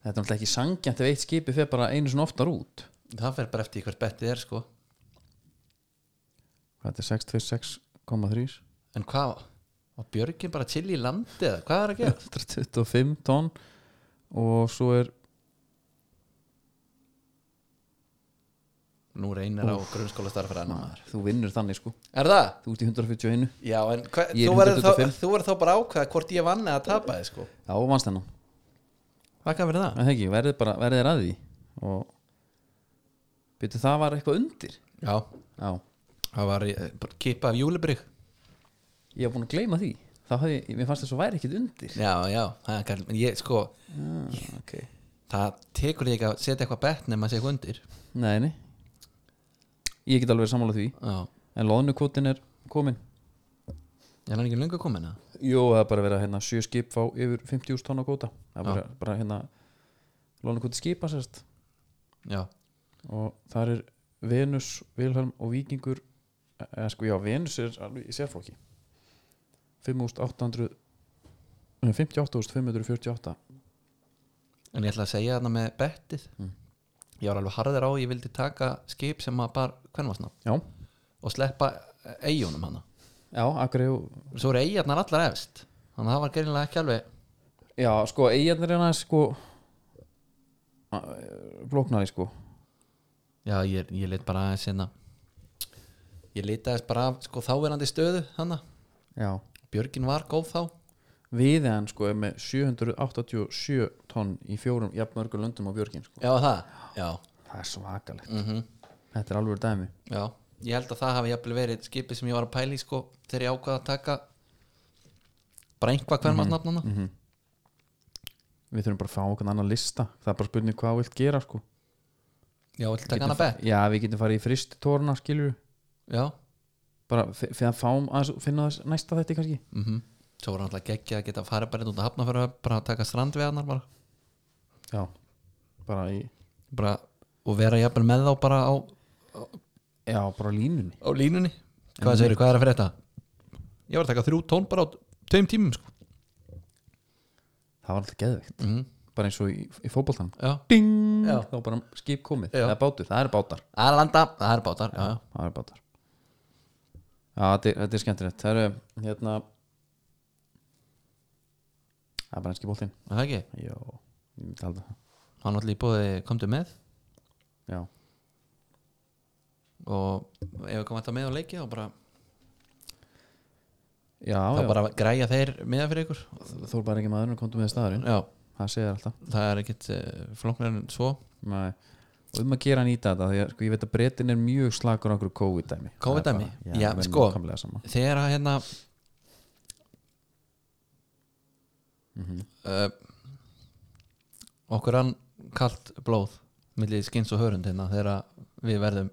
Speaker 1: þetta er náttúrulega ekki sangjant ef eitt skipi fer bara einu svona oftar út
Speaker 2: það fer bara eftir í hvert bettið er sko
Speaker 1: Hvað þetta er 626,3
Speaker 2: en hvað var Björgin bara til í landi eða hvað er að gera
Speaker 1: 125 tonn og svo er
Speaker 2: nú reynir á grunnskóla starfæra maður
Speaker 1: þú vinnur þannig sko,
Speaker 2: er það?
Speaker 1: þú ert í 141
Speaker 2: Já, en hva,
Speaker 1: Ég er
Speaker 2: þú, verður þá,
Speaker 1: 125.
Speaker 2: þú verður þá bara að ákveða hvort ég vann eða tapaði sko
Speaker 1: Já, vannst hennan,
Speaker 2: hvað kann verið það?
Speaker 1: það ekki, verðið bara verðið er að því og byrju það var eitthvað undir
Speaker 2: Já,
Speaker 1: Já,
Speaker 2: það var eh, bara kipa af júlibrygg
Speaker 1: ég var búin að gleyma því þá hafði, ég- mér fannst þess að væri ekkit undir
Speaker 2: Já, já, það er kall en ég sko,
Speaker 1: ah, okay.
Speaker 2: það tekur þig ekki að setja eitthvað bett nema að segja eitthvað undir
Speaker 1: Nei, nei Ég get alveg sammála því
Speaker 2: Já,
Speaker 1: en loðnukvotin er komin
Speaker 2: en hann er ekki löngu komin að
Speaker 1: Jú, það er bara verið að hérna, sjö skip fá yfir 50.000 tonna kvota það er bara, bara hérna loðnukvoti skipa sérst
Speaker 2: Já,
Speaker 1: og þar er Venus, Vilhelm og Víkingur eða sko já, Venus er alveg í sérflokki 5.800 nei, 58.548
Speaker 2: en ég ætla að segja þarna með bettið Ég var alveg harður á, ég vildi taka skip sem að bar kvenvarsna
Speaker 1: já,
Speaker 2: og sleppa eh, eyjunum hana
Speaker 1: já, akkur er
Speaker 2: Svo eru eyjarnar allar efst Þannig að það var gerinlega ekki alveg
Speaker 1: já, sko, eigarnir er aðeins sko blóknari sko
Speaker 2: Já, ég, ég lit bara aðeins hérna Ég lit aðeins bara af sko þáverandi stöðu hana
Speaker 1: já,
Speaker 2: Björgin var góð þá
Speaker 1: viðan sko er með 787 tonn í fjórum jafnmörgur löndum á björgin sko
Speaker 2: Já, það, já,
Speaker 1: það er svakalegt
Speaker 2: Mhm.
Speaker 1: þetta er alveg dæmi
Speaker 2: já Ég held að það hafi jafnvel verið skipið sem ég var að pæla í sko þegar ég ákvað að taka bara einhvað
Speaker 1: Mhm,
Speaker 2: kvenmaðsnafnana mm -hmm.
Speaker 1: við þurfum bara að fá okkur annan lista það er bara spurning hvað þú vilt gera sko
Speaker 2: Já, vill taka
Speaker 1: Getum
Speaker 2: hana bett
Speaker 1: fa- já við getum farið í fristitórna skilur
Speaker 2: Já,
Speaker 1: bara f- fyrir að fáum að finna þess næsta þetta kannski
Speaker 2: mhm Svo voru náttúrulega geggja að geta að fara bara hérna út að hafna bara að taka strandveðarnar bara,
Speaker 1: já bara í
Speaker 2: bara og vera jafnvel með þá bara á,
Speaker 1: já bara á línunni
Speaker 2: á línunni Hvað segirðu, hvað er að fyrir þetta? Mhm. Ég var að taka þrjú tón bara á tveim tímum sko
Speaker 1: það var alltaf geðveikt
Speaker 2: mm
Speaker 1: bara eins og í, í fótboltan
Speaker 2: Já,
Speaker 1: ding
Speaker 2: Já.
Speaker 1: þá bara skip komið
Speaker 2: Já.
Speaker 1: það er bátur það er bátar
Speaker 2: það er landa, það er bátar já, já.
Speaker 1: það er bátar já þetta er, þetta er skemmtilegt það eru hérna það er bara einski bóltinn
Speaker 2: Er Það ekki,
Speaker 1: já ég myndi halda það
Speaker 2: hann allir búið komdu með
Speaker 1: já
Speaker 2: og ef við komum alltaf með á leiki þá bara,
Speaker 1: já
Speaker 2: þá
Speaker 1: já
Speaker 2: bara græja þeir meða fyrir ykkur
Speaker 1: þú er bara ekki maðurinn komdu með staðurinn
Speaker 2: já,
Speaker 1: það segir alltaf
Speaker 2: það er ekkit uh, flóknar en svo
Speaker 1: Nei. og um að gera nýta þetta því að sko, ég veit að breytin er mjög slagur á okkur COVID-dæmi
Speaker 2: COVID-dæmi?
Speaker 1: Það er bara-
Speaker 2: Já,
Speaker 1: það er
Speaker 2: sko.
Speaker 1: nákvæmlega sama.
Speaker 2: þegar að hérna uh, Eh, okkur hann kalt blóð millir skins og hörund hérna þegar að við verðum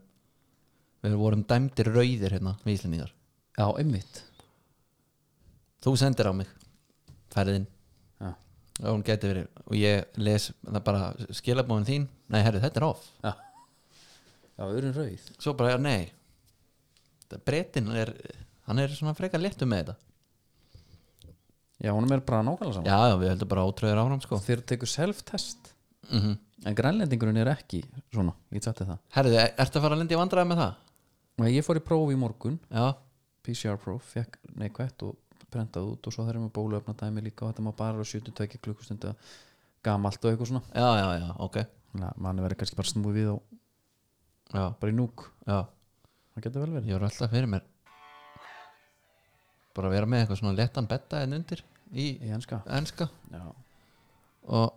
Speaker 2: við vorum dæmdir rauðir hérna við Íslendingar
Speaker 1: já, einmitt
Speaker 2: þú sendir á mig ferðin
Speaker 1: Já.
Speaker 2: og hún geti verið og ég les það bara skilabóðin þín nei herri þetta er off
Speaker 1: já, já öðrun rauð
Speaker 2: svo bara nei breytin er hann er svona frekar léttum með þetta
Speaker 1: já, honum er bara nákvæmlega saman
Speaker 2: já já við heldum bara ótröður áfram sko
Speaker 1: þeir tekur self-test
Speaker 2: mm -hmm.
Speaker 1: en grænlendingurinn er ekki svona ég tætti það
Speaker 2: herri ertu að fara að lenda í vandræði með það
Speaker 1: Nei, ég fór í próf í morgun
Speaker 2: já
Speaker 1: PCR próf, fekk neikvætt og prentað út og svo þeir eru með bóluöfna dæmi líka og þetta má bara vera 72 klukkustundu gamalt og eitthvað svona
Speaker 2: já já já ok
Speaker 1: Þannig að manni verður kannski bara snúið við á
Speaker 2: já
Speaker 1: bara í núk,
Speaker 2: já
Speaker 1: það getur vel verið
Speaker 2: ég voru alltaf fyrir mér bara að vera með eitthvað svona léttan betta en undir í
Speaker 1: í enska
Speaker 2: enska
Speaker 1: já.
Speaker 2: og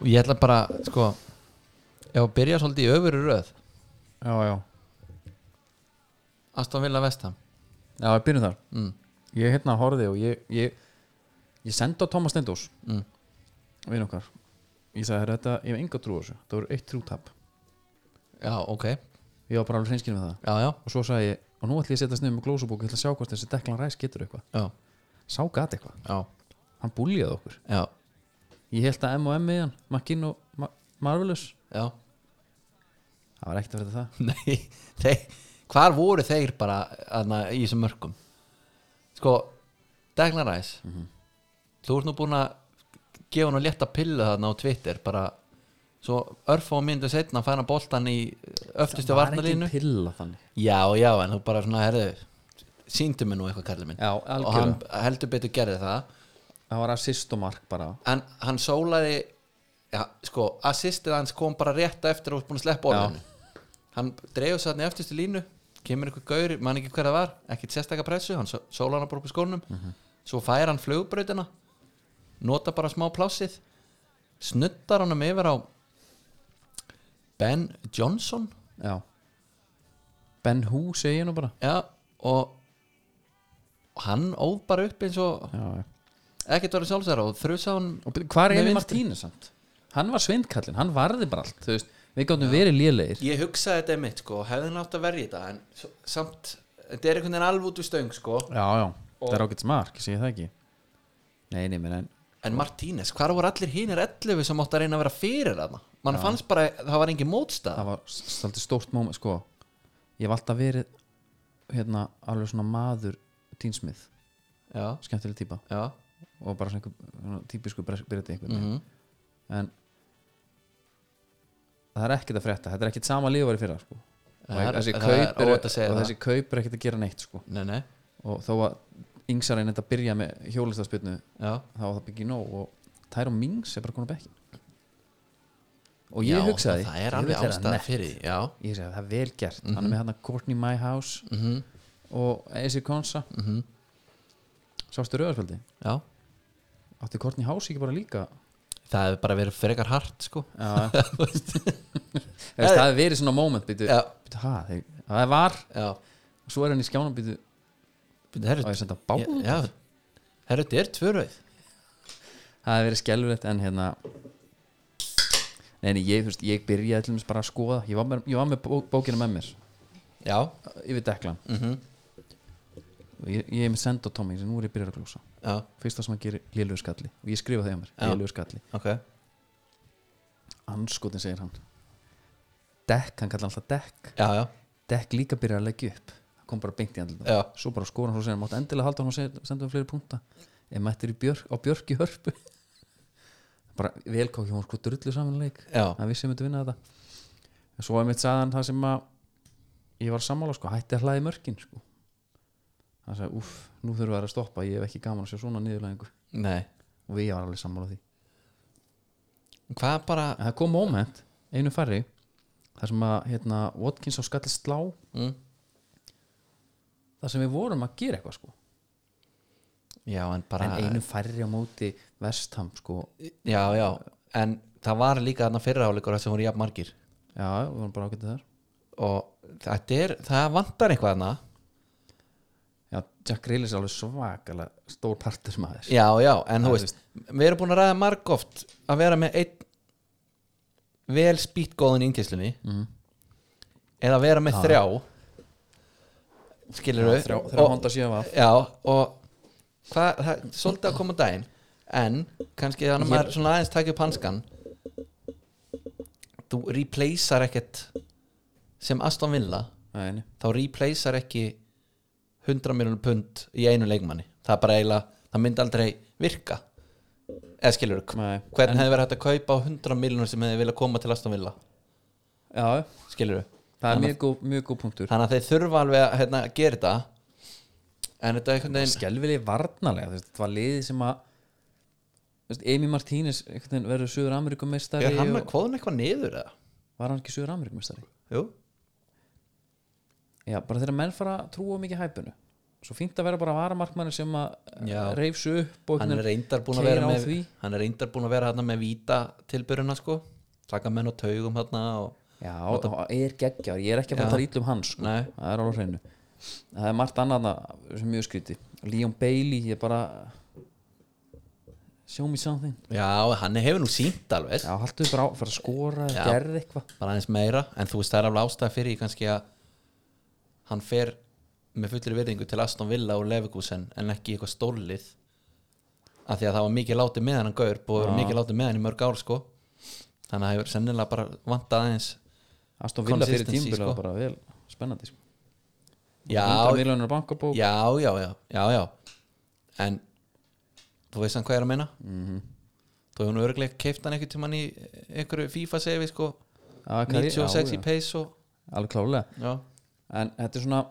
Speaker 2: og ég ætla bara sko ef að byrja svolítið í öfuru röð
Speaker 1: já, já,
Speaker 2: Aston Villa Vestham
Speaker 1: já, við byrjum þar
Speaker 2: mm.
Speaker 1: ég hérna horfði og ég ég, ég sendi á Thomas Stendós
Speaker 2: Mm.
Speaker 1: vinn okkar ég sagði "Herra, þetta, ég hef enga trú á þessu það voru eitt trútap,
Speaker 2: já ok já
Speaker 1: ég var bara alveg hreinskinn með það
Speaker 2: já,
Speaker 1: og svo sagði ég, og nú ætlum ég að setja sniðum með glósubók ég ætla að sjá hvort þessi deklan ræs getur eitthvað
Speaker 2: já,
Speaker 1: sá gat eitthvað,
Speaker 2: já.
Speaker 1: hann búljaði okkur
Speaker 2: já,
Speaker 1: ég held að M&M við hann, Makin og Ma Marvelous
Speaker 2: já
Speaker 1: það var ekkert að verða það
Speaker 2: Nei, þeir, hvar voru þeir bara aðna, í þessum mörkum sko, Daglar Ræs
Speaker 1: Mhm.
Speaker 2: þú ert nú búin að gefa hann að létta pillu þarna á Twitter bara svo örfa og myndu setna að færa boltan í uh, öftustu varnalínu
Speaker 1: pilla þannig
Speaker 2: já, já, en þú bara svona, herðu síndu mig nú eitthvað kallið minn
Speaker 1: Já,
Speaker 2: og
Speaker 1: algjörlega.
Speaker 2: hann heldur betur gerði það
Speaker 1: það var assist og mark bara
Speaker 2: en hann sólaði ja, sko, assistið hans kom bara rétt á eftir og búin að sleppa orðinu hann dreifur sér þannig eftirstu línu kemur einhver gaur, mann ekki hver það var ekkert sérstakka pressu, hann só- sólar hann bara upp í skónum svo fær hann flugbrautina nota bara smá plásið snuttar hann um yfir á Ben Johnson
Speaker 1: já Ben Hú segi ég nú bara
Speaker 2: já, og og hann óð bara upp eins og
Speaker 1: já, já.
Speaker 2: ekkert var í sjálfsæra og þrjusa hann
Speaker 1: og byrju, hvað
Speaker 2: Með
Speaker 1: er Eli
Speaker 2: vinstri.
Speaker 1: Martínez samt hann var svindkallin, hann varði bara allt þú veist, við gáttum verið lélegir
Speaker 2: ég hugsaði þetta mitt sko, hefði nátt að verja þetta en s- samt, þetta er einhvern veginn alveg út úr stöng sko,
Speaker 1: já, já, það er ágætt mark, segi það ekki nei, nei, menn en
Speaker 2: en Martínez hvar voru allir hinnir 11 sem átt að reyna að vera fyrir hana, mann fannst bara það var engin mótstað,
Speaker 1: það var svolítið stórt móment sko ég hef alltaf verið hérna alveg svona maður tínsmið,
Speaker 2: já,
Speaker 1: skemmtileg típa
Speaker 2: já
Speaker 1: og bara svona einhver svona típisku byrjandi einhvern veginn
Speaker 2: mhm.
Speaker 1: en það er ekkert að frétta, þetta er ekkert sama líf var í fyrra sko og
Speaker 2: Það er-
Speaker 1: þessi
Speaker 2: það er
Speaker 1: kaup eru-
Speaker 2: óhætt að segja
Speaker 1: og
Speaker 2: það.
Speaker 1: þessi kaup er ekkert að gera neitt sko
Speaker 2: nei, nei,
Speaker 1: og þó að yngsar einn þetta byrja með hjólistaspilnu
Speaker 2: já
Speaker 1: þá var það byggja nóg og Tæra Mings er bara konar bekkin og ég
Speaker 2: já,
Speaker 1: hugsaði
Speaker 2: það er
Speaker 1: ég vil
Speaker 2: alveg
Speaker 1: vera
Speaker 2: ástæða
Speaker 1: nett.
Speaker 2: fyrir Mhm. því, já,
Speaker 1: ég segi að það er vel gert hann er með hann að Courtney My House
Speaker 2: Mhm.
Speaker 1: -hmm. og Eisi Konsa -hmm. sástu rauðarspöldi
Speaker 2: já
Speaker 1: átti Courtney House ekki bara líka
Speaker 2: það hefur bara verið frekar hart sko
Speaker 1: Já. Þú veist, það hefði verið svona moment byrju,
Speaker 2: Já.
Speaker 1: byrju, ha, þeir, það var
Speaker 2: já,
Speaker 1: og svo er hann í skjánum byrju,
Speaker 2: Bíddu, herru,
Speaker 1: á ég að senda báð
Speaker 2: já, já. herru, þetta er tvöröð
Speaker 1: það hefði verið skelfilegt en hérna Nei, nei, ég, þú veist, ég byrjaði til þess bara að skoða ég var með, ég var með bók, bókina með mér
Speaker 2: já,
Speaker 1: yfir deklan -hmm.
Speaker 2: Mhm.
Speaker 1: og ég, ég er með senda á Tommy sem nú er ég byrjað að glósa
Speaker 2: já,
Speaker 1: fyrsta sem hann gerir lélugur skalli og ég skrifa það hjá mér,
Speaker 2: Já.
Speaker 1: lélugur skalli
Speaker 2: ok
Speaker 1: anskotin segir hann dekk, hann kallar alltaf dekk
Speaker 2: já, já,
Speaker 1: dekk líka byrjar að leggja upp það kom bara beint í
Speaker 2: Já.
Speaker 1: andlutum svo bara skora hann og segja, máttu endilega halda hann og segja senda hann fleiri punkta ef mættir í björk, á björk í hörpu bara velkáki hún sko drullu samanleik
Speaker 2: Já.
Speaker 1: hann vissi ég myndi vinna þetta en svo er mitt sagðan það sem að ég var sammála sko, hætti að hlaði mörkin sko hann sagði, uff, nú þurfum við að stoppa ég hef ekki gaman að sjá svona niðurlæðingu
Speaker 2: nei
Speaker 1: og ég var alveg sammála því
Speaker 2: hvað bara,
Speaker 1: en það kom moment, einu færri þar sem að hérna, Watkins á skalli slá
Speaker 2: mm.
Speaker 1: þar sem við vorum að gera eitthvað sko
Speaker 2: já, en bara
Speaker 1: en einu færri á móti vestham sko
Speaker 2: Já, já, en það var líka þarna fyrraháleikur sem voru jafn margir
Speaker 1: já, við vorum bara ágætið þar
Speaker 2: og þetta er, það vantar eitthvað þarna
Speaker 1: já, Jack Grealish er alveg svakalega stór partur maður
Speaker 2: Já, já, en þú veist, við erum búin að ræða margóft að vera með einn vel spýtgóðin í innkíslunni eða vera með þrjá skilur við
Speaker 1: þrjá, þrjá honda síðan var
Speaker 2: Já, og hvað, það er svolítið að koma á daginn en kannski þannig að maður svona aðeins takja upp hanskan þú replacear ekkert sem Aston Villa
Speaker 1: Nei, nei.
Speaker 2: þá replacear ekki 100 miljonum pund í einu leikmanni það er bara eiginlega, það myndi aldrei virka eða skilur
Speaker 1: Nei.
Speaker 2: hvernig hefði verið hægt að kaupa á 100 miljonum sem hefði viljað koma til Aston Villa
Speaker 1: já,
Speaker 2: skilur
Speaker 1: það er mjög góð, mjög góð punktur
Speaker 2: þannig að þeir þurfa alveg að hérna, gera þetta en þetta er einhvern veginn
Speaker 1: skelvilegi varnarlega þú veist, þetta var liðið sem að þú veist, Amy Martínez einhvern veginn verður Suður Ameríkumestari
Speaker 2: er hann að
Speaker 1: og,
Speaker 2: kvóðun eitthvað niður eða?
Speaker 1: var hann ekki Suður Ameríkumestari
Speaker 2: Jú
Speaker 1: já, bara þegar menn fara að trúa mikið hæpunu svo fínt að vera bara varamarkmann sem að
Speaker 2: Já.
Speaker 1: reyfsu upp og
Speaker 2: hann
Speaker 1: einhvern
Speaker 2: er
Speaker 1: veginn
Speaker 2: reyndar búin að
Speaker 1: keyra
Speaker 2: vera
Speaker 1: á
Speaker 2: með
Speaker 1: því.
Speaker 2: hann er reyndar búin að vera þarna með víta tilbyrjuna sko taka menn á taugum þarna og
Speaker 1: Já, það er geggjar, ég er ekki að fara að tala ítlum hans sko.
Speaker 2: Nei.
Speaker 1: það er alveg á hreinu það er margt annað þarna sem mjög skríti Leon Bailey, ég bara show me something
Speaker 2: já, hann hefur nú sínt alveg
Speaker 1: já, haltu bara á, fara að skora,
Speaker 2: Já.
Speaker 1: gerð eitthvað
Speaker 2: bara aðeins meira, en þú veist það er alveg ástæða fyrir því kannski að hann fer með fullri virðingu til Aston Villa og Leverkusen en ekki í eitthvað stórlið af því að það var mikið látið með hann gaur búið að vera mikið látið með hann í mörg ár sko þannig að það hefur sennilega bara vantað aðeins
Speaker 1: Aston Villa fyrir
Speaker 2: Consistency,
Speaker 1: tímbil
Speaker 2: sko.
Speaker 1: bara vel spennandi sko.
Speaker 2: Já.
Speaker 1: 100 miljónur bankabók
Speaker 2: já, já, já, já, já en þú veist hann hvað ég er að meina mm -hmm. þú hefur nú örglega keift hann einhvern tímann í eh, einhverju FIFA sefi sko
Speaker 1: Já, hvað er-
Speaker 2: 96
Speaker 1: já,
Speaker 2: í
Speaker 1: já.
Speaker 2: pace og
Speaker 1: alveg klálega
Speaker 2: já,
Speaker 1: en þetta er svona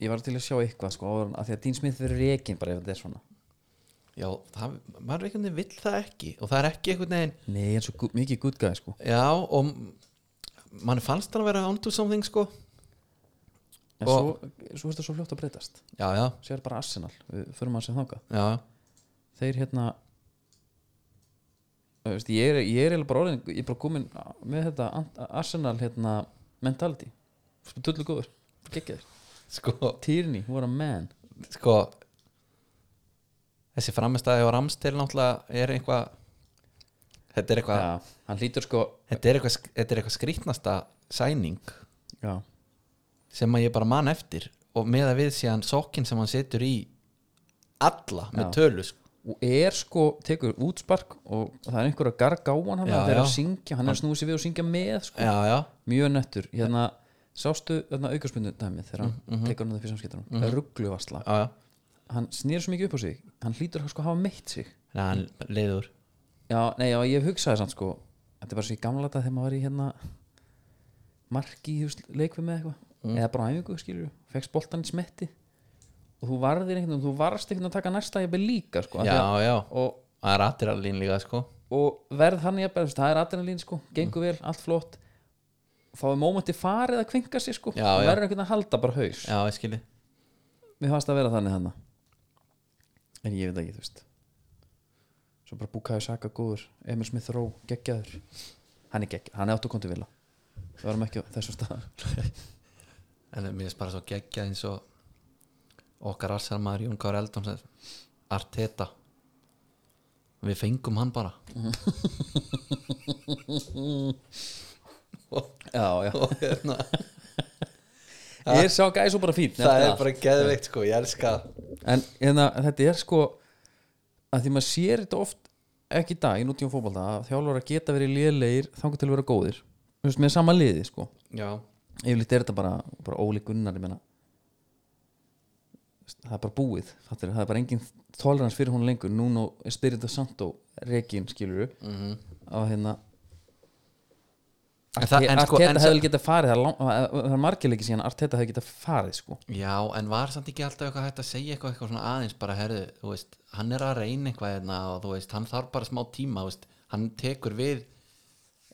Speaker 1: ég var til að sjá eitthvað sko, áður en- af því að Dean Smith verður rekin bara ef þetta er svona
Speaker 2: já það, maður einhvern veginn vill það ekki og það er ekki einhvern veginn
Speaker 1: nei, eins og gu- mikið good guy sko
Speaker 2: já og m- mann fannst hann að vera onto something sko
Speaker 1: en
Speaker 2: Og-
Speaker 1: svo, svo er þetta svo fljótt að breytast
Speaker 2: já, já,
Speaker 1: sér bara Arsenal, við förum að segja þangað
Speaker 2: já, já
Speaker 1: þeir hérna þú veist, ég er, ég er eiginlega bara orðin ég er bara komin með þetta Ant- Arsenal hérna, mentality tullu góður, geggjaður
Speaker 2: sko,
Speaker 1: Tierney, what a man
Speaker 2: sko þessi framistæði og ramstil náttúrulega er eitthvað þetta er eitthvað
Speaker 1: já, hann hlýtur sko
Speaker 2: þetta er eitthvað, sk- þetta er eitthvað skrýtnasta sæning
Speaker 1: já,
Speaker 2: sem að ég bara man eftir og með að við síðan sokkin sem hann setur í alla með
Speaker 1: Já.
Speaker 2: tölu sko.
Speaker 1: og er sko, tekur útspark og það er einhver að garga á hann hann
Speaker 2: Já,
Speaker 1: þegar
Speaker 2: já.
Speaker 1: að syngja, hann er að snúi sér við og syngja með sko,
Speaker 2: já, já,
Speaker 1: mjög nettur hérna, sástu þarna aukarspundu dæmið þegar hann tekur hann það fyrir samskiptunum mm -hmm. ruggluvarsla,
Speaker 2: já, já.
Speaker 1: hann snýr svo mikið upp á sig hann hlýtur að sko hafa meitt sig
Speaker 2: Nei, hann leiður
Speaker 1: Já, nei, já, ég hugsaði samt sko Þetta er bara svo í gamla þetta þegar maður var í hérna marki í leikfið með eitthvað
Speaker 2: Mm.
Speaker 1: eða bara á æfingu, skilur við fegst boltan í smetti og þú varðir einhvern veginn, þú varst einhvern veginn að taka næsta jafnvel líka, sko af því
Speaker 2: já,
Speaker 1: að-
Speaker 2: já,
Speaker 1: og,
Speaker 2: það er aðtir alveg líka sko.
Speaker 1: og verð hann jafnvel, þú veist, það er adrenalín, sko
Speaker 2: Mm.
Speaker 1: gengur vel, allt flott þá er mómenti farið að kvinka sér, sko
Speaker 2: Já,
Speaker 1: og
Speaker 2: já.
Speaker 1: verður einhvern veginn að halda bara haus
Speaker 2: já, ég skilji
Speaker 1: Mér fannst að vera þannig hann en ég veit ekki, þú veist svo bara búkaði Saka góður Emil Smith Rowe, geggjaður hann er geggjaður, hann er áttukontu vila við varum ekki á þessum stað
Speaker 2: en mér finnst bara svo geggja eins og okkar arsalmaður Jón Kár Eldon sagði, Arteta við fengum hann bara
Speaker 1: já, já,
Speaker 2: og hérna
Speaker 1: ég sá gæði svo bara fín
Speaker 2: það er bara geðveikt sko, ég elska það.
Speaker 1: en hérna, þetta er sko að því maður sér þetta oft ekki í dag í nútíum fótbolta að þjálfur að geta verið lélegir þangur til að vera góðir þú veist, með sama liði sko
Speaker 2: já,
Speaker 1: yfirleitt er þetta bara, bara ólík unnar ég meina það er bara búið fattir, það er bara engin tolerans fyrir hún lengur Nuno Espirito Santo rekin skilur mm -hmm. og hérna
Speaker 2: En það- en
Speaker 1: Arteta
Speaker 2: sko- en
Speaker 1: hefði
Speaker 2: sa-
Speaker 1: vel getað farið það er lang- það er, það er margileiki síðan Arteta hefði getað farið sko
Speaker 2: já, en var samt ekki alltaf eitthvað hægt að segja eitthvað, eitthvað svona aðeins bara herðu, þú veist, hann er að reyna eitthvað hérna og þú veist, hann þarf bara smá tíma þú veist, hann tekur við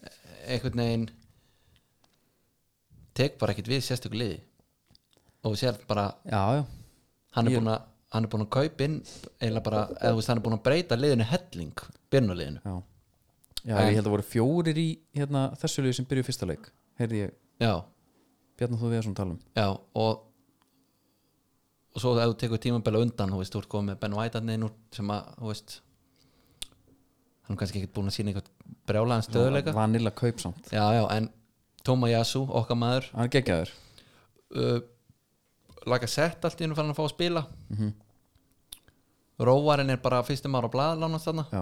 Speaker 2: eh, einhvern veginn tek bara ekkert við sérstöku liði og þú sér bara
Speaker 1: já, já,
Speaker 2: hann er búin að hann er búin að kaupa inn eða bara, eða þú veist, hann er búin að breyta liðinu helling, byrnuleginu
Speaker 1: já. já ég held að voru fjórir í hérna, þessu liði sem byrjuði fyrsta leik heyrði ég,
Speaker 2: já,
Speaker 1: Bjarnar þú við þessum talum
Speaker 2: já, og og svo ef þú tekur tímabæla undan þú veist, þú ert komið með Ben White hann úr sem að, þú veist hann er kannski ekki búin að sína eitthvað brjálaðan stöðuleika
Speaker 1: vanilla kaupsamt,
Speaker 2: já, já, en Toma Yasu, okkar maður
Speaker 1: hann er geggjaður
Speaker 2: uh, laga sett allt í hennu fann hann að fá að spila Róvarinn er bara fyrstum ára blaðlánast þarna
Speaker 1: já,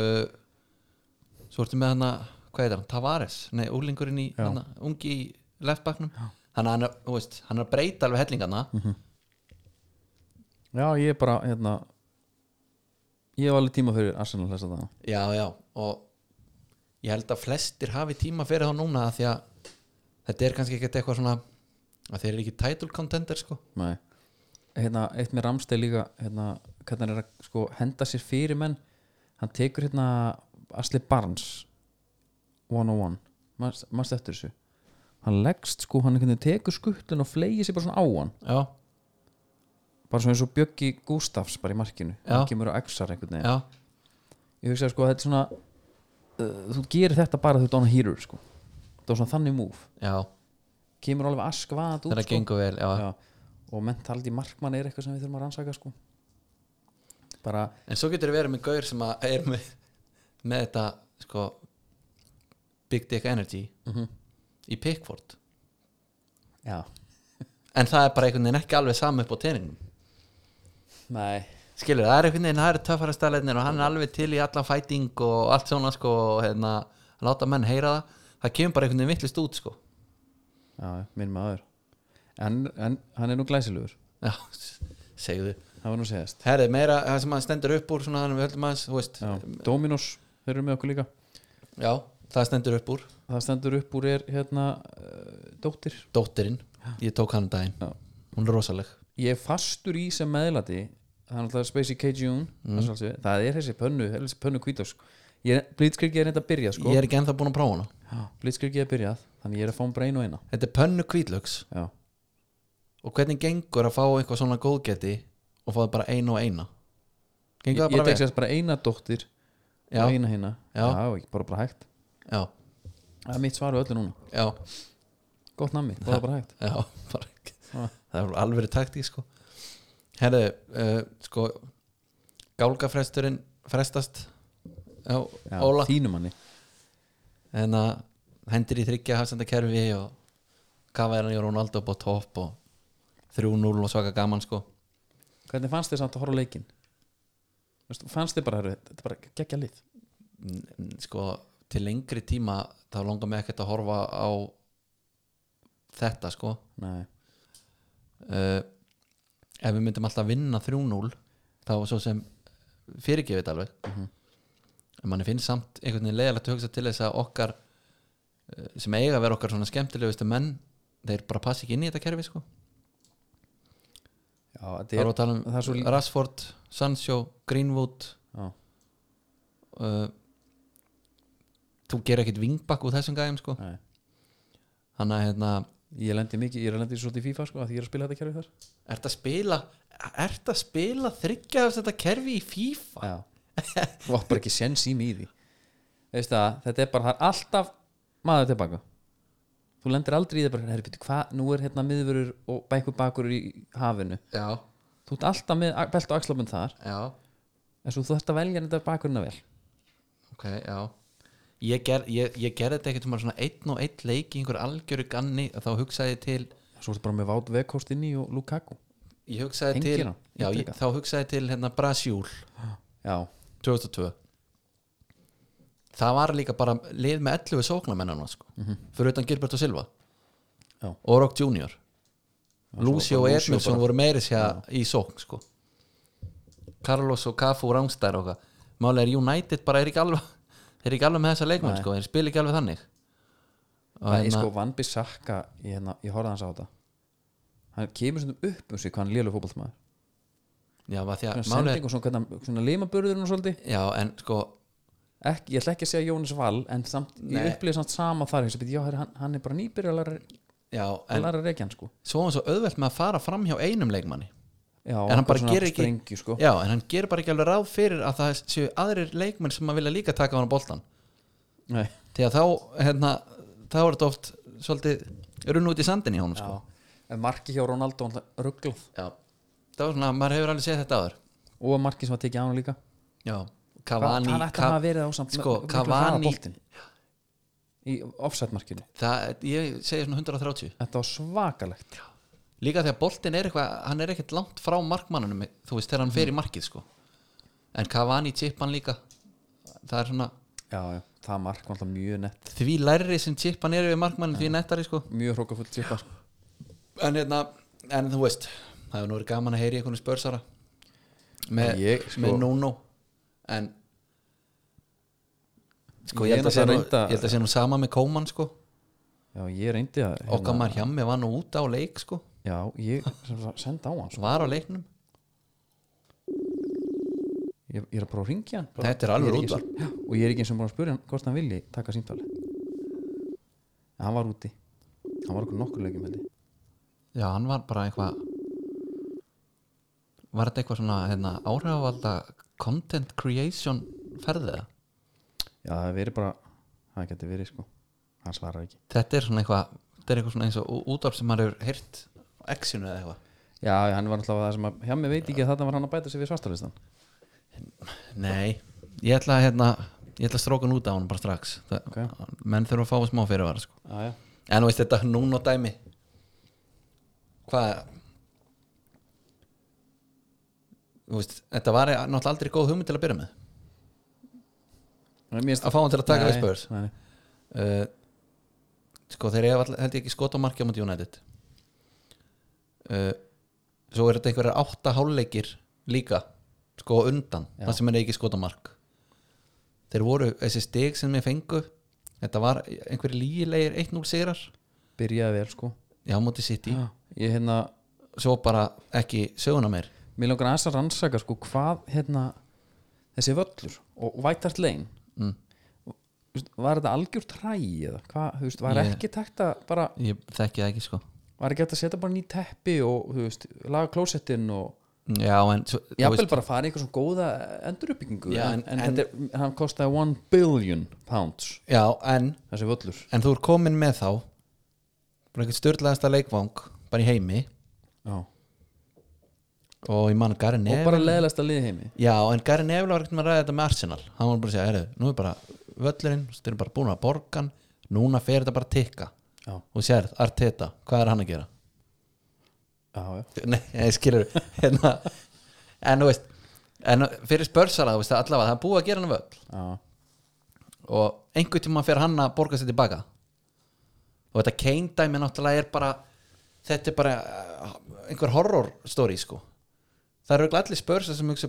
Speaker 2: uh, svo ertu með hann hvað heitir hann, Tavares, nei, úlingurinn í hana, ungi í leftbacknum þannig að hann er, þú veist, hann er að breyta alveg hellingarna
Speaker 1: Já, ég er bara hérna Ég hef alveg tíma fyrir Arsenal þess að það
Speaker 2: já, já, og ég held að flestir hafi tíma fyrir þá núna af því að þetta er kannski ekkert eitthvað svona að þeir eru ekki title contender sko
Speaker 1: Nei Hérna, eitt með Ramsteig líka hérna, hvernig hann er að sko, henda sér fyrir menn hann tekur hérna Asli Barnes 101 mannst eftir þessu hann leggst sko, hann einhvern veginn tekur skuttun og fleigi sér bara svona á hann
Speaker 2: já,
Speaker 1: bara svona eins og Bjöggi Gústafs bara í markinu
Speaker 2: Já.
Speaker 1: hann kemur á X-ar einhvern veginn
Speaker 2: já,
Speaker 1: ég hugsaði sko að þetta er svona uh, þú gerir þetta bara þú ert án að hýrur sko það var svona þannig move
Speaker 2: já
Speaker 1: kemur alveg askvað út
Speaker 2: þetta gengur vel, já,
Speaker 1: Já, og mentaldi markmann er eitthvað sem við þurfum að rannsaka sko. bara,
Speaker 2: en svo getur verið með gaur sem að er með, með þetta sko Big Dick Energy í Pickford
Speaker 1: já
Speaker 2: en það er bara einhvern veginn ekki alveg saman upp á teiningum
Speaker 1: nei,
Speaker 2: skilur, það er einhvern veginn, það eru töffara stæðleginir og hann er alveg til í allan fæting og allt svona sko, og hérna, láta menn heyra það það kemur bara einhvern veginn vittlist út sko
Speaker 1: já, minn maður en, en hann er nú glæsilegur
Speaker 2: já, segðu
Speaker 1: það var nú segjast
Speaker 2: herri, meira, það sem hann stendur upp úr svona, þannig við höldum aðeins, þú veist
Speaker 1: já. Dominos, þeir eru með okkur líka
Speaker 2: já, það stendur upp úr
Speaker 1: það stendur upp úr er hérna uh, dóttir
Speaker 2: dóttirinn, ég tók hann um daginn
Speaker 1: Já.
Speaker 2: hún er rosaleg
Speaker 1: ég er fastur í sem meðlati það er náttúrulega Spacey K. June mm. það er þessi pönnu, þessi pönnu kvítás Blitzkrieg er reynda að byrja sko
Speaker 2: ég er ekki ennþá búin að prófa hana
Speaker 1: Blitzkrieg er byrjað, þannig ég er að fá um brein og eina
Speaker 2: þetta er pönnu kvítlöks
Speaker 1: já,
Speaker 2: og hvernig gengur að fá eitthvað svona góðgeti og fá það bara einu og eina
Speaker 1: ég,
Speaker 2: gengur það
Speaker 1: ég
Speaker 2: bara
Speaker 1: tek
Speaker 2: vel
Speaker 1: sérst bara eina dóttir
Speaker 2: Já.
Speaker 1: og eina hérna
Speaker 2: Já.
Speaker 1: ekki bara bara hægt
Speaker 2: já,
Speaker 1: það er mitt svar við öllu núna,
Speaker 2: já,
Speaker 1: gott nammi, bara bara hægt
Speaker 2: já bara, ekki.
Speaker 1: Ah.
Speaker 2: það er alveg taktík sko herðu, uh, sko gálgafresturinn frestast já,
Speaker 1: já,
Speaker 2: Óla
Speaker 1: þínu manni
Speaker 2: en að hendir í þryggja hafsendakerfi og kafaðirinn í Ronaldo upp á topp og 3-0 og svaka gaman sko
Speaker 1: hvernig fannst þér samt að horfa á leikin Veistu, fannst þér bara, herru, þetta er bara geggja lið
Speaker 2: N- n- sko til lengri tíma þá langar mig ekkert að horfa á þetta sko
Speaker 1: nei,
Speaker 2: uh, ef við myndum alltaf vinna 3-0 þá var svo sem fyrirgefið þetta alveg en manni finnst samt einhvern veginn leiðilegt að hugsa til þess að okkar uh, sem eiga að vera okkar svona skemmtilegustu menn þeir bara passi ekki inn í þetta kerfi sko
Speaker 1: já, það er,
Speaker 2: það var að tala um
Speaker 1: það er svo lí-
Speaker 2: Rashford, Sancho, Greenwood
Speaker 1: já,
Speaker 2: uh, þú gerir ekkert vingbakk úr þessum gæðum sko
Speaker 1: nei
Speaker 2: hann að hérna
Speaker 1: Ég lendi mikið, ég er að lendi svolítið í FIFA sko að því ég er að spila þetta kerfi þar
Speaker 2: Ert að spila Ert að spila þryggja þetta kerfi í FIFA
Speaker 1: Já Það var bara ekki sens í mig í því Veist það, þetta er bara, það er alltaf maður tilbaka Þú lendir aldrei í það bara, herri, býttu, hvað, nú er hérna miðvörur og bækur bakur í hafinu
Speaker 2: Já,
Speaker 1: Þú ert alltaf með a- belt og axlabund þar
Speaker 2: já,
Speaker 1: en svo þú ert að velja þetta bakurina vel
Speaker 2: ok, já Ég, ger, ég, ég gerði þetta ekkert um svona einn og einn leik í einhver algjöru ganni og þá hugsaði ég til
Speaker 1: Svo ertu bara með Vát Vekost inni og Lukaku
Speaker 2: ég hugsaði
Speaker 1: Hengir
Speaker 2: til
Speaker 1: hann,
Speaker 2: já, ég,
Speaker 1: ítrekað.
Speaker 2: þá hugsaði ég til hérna Brasjúl
Speaker 1: Já,
Speaker 2: 2002 það var líka bara lið með 11 sóknamennana sko. fyrir utan Gilbert og Silva
Speaker 1: Mhm. Já.
Speaker 2: og Rock Junior Lucio og
Speaker 1: bara Lucio
Speaker 2: Edmundsson voru meiri sér í sókn sko. Carlos og Cafu Rangstær og hvað málega er United bara er ekki alveg þeir eru ekki alveg með þessa leikmenn sko, þeir spila ekki alveg þannig og
Speaker 1: það er
Speaker 2: hérna,
Speaker 1: sko Van Bissaka ég, hérna, ég horfði hans á þetta Hann kemur svona upp um sig hvað hann lélu fótboltmaður
Speaker 2: já, var því að málega
Speaker 1: Sending og svona, hvernig hann- svona limaburður og svolítið
Speaker 2: já, en sko,
Speaker 1: ekki, ég ætla ekki að segja Jónis Val en samt,
Speaker 2: Nei.
Speaker 1: ég upplýði samt sama þar ég sagði, já, herri, hann, hann er bara nýbyrja að læra-
Speaker 2: já,
Speaker 1: að
Speaker 2: en
Speaker 1: læra reikja hann sko
Speaker 2: svo var hann svo auðvelt með að fara fram hjá einum leikmanni
Speaker 1: já,
Speaker 2: en hann bara
Speaker 1: svona
Speaker 2: gerir ekki
Speaker 1: sprengju, sko.
Speaker 2: já, en hann gerir bara ekki alveg ráð fyrir að það séu aðrir leikmenn sem að vilja líka taka á hann boltan
Speaker 1: Nei,
Speaker 2: því að þá hérna, þá er þetta oft svolítið runn út í sandin í honum sko.
Speaker 1: en marki hjá Ronaldo hann rugglað
Speaker 2: já. það var svona, maður hefur alveg séð þetta áður
Speaker 1: og marki sem að tekið á hann líka
Speaker 2: já, Cavani
Speaker 1: hann ætti
Speaker 2: Ca-
Speaker 1: hann að verið á samt
Speaker 2: sko,
Speaker 1: miklu hraða
Speaker 2: Cavani,
Speaker 1: boltinn. í offset markinu
Speaker 2: það, ég segi svona 130
Speaker 1: þetta var svakalegt
Speaker 2: líka því að boltin er eitthvað, hann er ekkert langt frá markmannunum, þú veist, þegar hann fer í markið sko. en Cavani chippan líka það er svona
Speaker 1: já, já, það mark var alltaf mjög nett
Speaker 2: því lærri sem chippan er við markmannin því nettari sko
Speaker 1: mjög hrókafull típa sko.
Speaker 2: en, hérna, en þú veist það hefur nú verið gaman að heyri einhvern spörsara með,
Speaker 1: En ég, sko-
Speaker 2: með Nuno en sko
Speaker 1: Ég
Speaker 2: ég held
Speaker 1: er
Speaker 2: að sé nú,
Speaker 1: reynda-
Speaker 2: ég held að sé nú sama með Kóman sko
Speaker 1: já, ég reyndi að hérna-
Speaker 2: okkar maður hjá mig var nú út á leik sko
Speaker 1: já, ég sendi á hann sko.
Speaker 2: var á leiknum
Speaker 1: ég, ég er að prófa að ringja hann bara.
Speaker 2: Þetta er alveg
Speaker 1: Ég ekki-
Speaker 2: útvarp.
Speaker 1: Já, og ég er ekki eins og búin að spyrja hann hvort hann vilji taka símtali en hann var úti hann var okkur nokkur leikjum held ég
Speaker 2: já hann var bara eitthvað var þetta eitthvað svona hérna, áhrifvalda content creation ferðið
Speaker 1: já það hefur verið bara það getur verið sko hann svarar ekki
Speaker 2: þetta er svona eitthvað þetta er eitthvað svona eins og ú- útvarp sem maður hefur heyrt á exinu eða eitthvað
Speaker 1: já hann var alltaf það sem að hjá mig veit ekki að þarna var hann að bæta sig við svartalistan
Speaker 2: Nei, ég ætla að hérna ég ætla að stróka hann út á hann bara strax það,
Speaker 1: Ok.
Speaker 2: menn þurfa að fá smá fyrirvara sko.
Speaker 1: já já
Speaker 2: en þú veist þetta núna dæmi hvað þú veist, þetta var náttúrulega aldrei góð hugmynd til að byrja með
Speaker 1: Mér finnst-
Speaker 2: að fá hann til að taka
Speaker 1: Nei,
Speaker 2: við Spurs
Speaker 1: nei, nei.
Speaker 2: uh, sko þeir eiga all- held ég ekki skot á markja á múti United uh, svo er þetta einhverjar átta háluleikir líka sko á undan,
Speaker 1: Já.
Speaker 2: það sem er ekki skot á mark þeir voru, þessi stig sem við fengu þetta var einhverjir lígilegir 1-0 sigrar
Speaker 1: Byrjaði vel sko
Speaker 2: já, á múti City,
Speaker 1: Já. Ég hérna
Speaker 2: svo bara ekki söguna meir
Speaker 1: Mér langar aðeins að rannsaka sko hvað hérna þessi völlur og White Hart Lane
Speaker 2: Mm.
Speaker 1: Þú veist, var þetta algjör træ eða hvað, þú veist, var
Speaker 2: Ég-
Speaker 1: ekki tækt að bara,
Speaker 2: ég þekki það ekki sko
Speaker 1: var ekki hægt að setja bara ný teppi og þú veist, laga klósettinn og
Speaker 2: já, en, svo, þú
Speaker 1: jafnvel
Speaker 2: veist,
Speaker 1: bara fara í eitthvað svona góða enduruppbyggingu
Speaker 2: Já,
Speaker 1: en,
Speaker 2: en-
Speaker 1: en, þetta er, hann kostaði 1 billion pounds
Speaker 2: já, en
Speaker 1: þessi völlur
Speaker 2: en þú er komin með þá bara einhvern störlaðasta leikvang bara í heimi
Speaker 1: Já.
Speaker 2: og ég man að Gary
Speaker 1: og
Speaker 2: Neville
Speaker 1: bara leðlast að liði heimi
Speaker 2: já en Gary Neville var ekkert með að ræða þetta með Arsenal hann var bara að segja, heyrðu, nú er bara völlurinn þeir eru bara búin að borga hann núna fer þetta bara að tikka
Speaker 1: Já.
Speaker 2: og sérð, Arteta, hvað er hann að gera
Speaker 1: já, já.
Speaker 2: nei, ég skilur hérna, en þú veist en fyrir spörsala, þú veist, allavega það er búið að gera hann völl
Speaker 1: Já.
Speaker 2: og einhvern tíma fyrir hann að borga sér tilbaka og þetta Kane dæmi náttúrulega er bara þetta er bara uh, einhver horror story sko það eru örugglega allir spörsa sem hugsa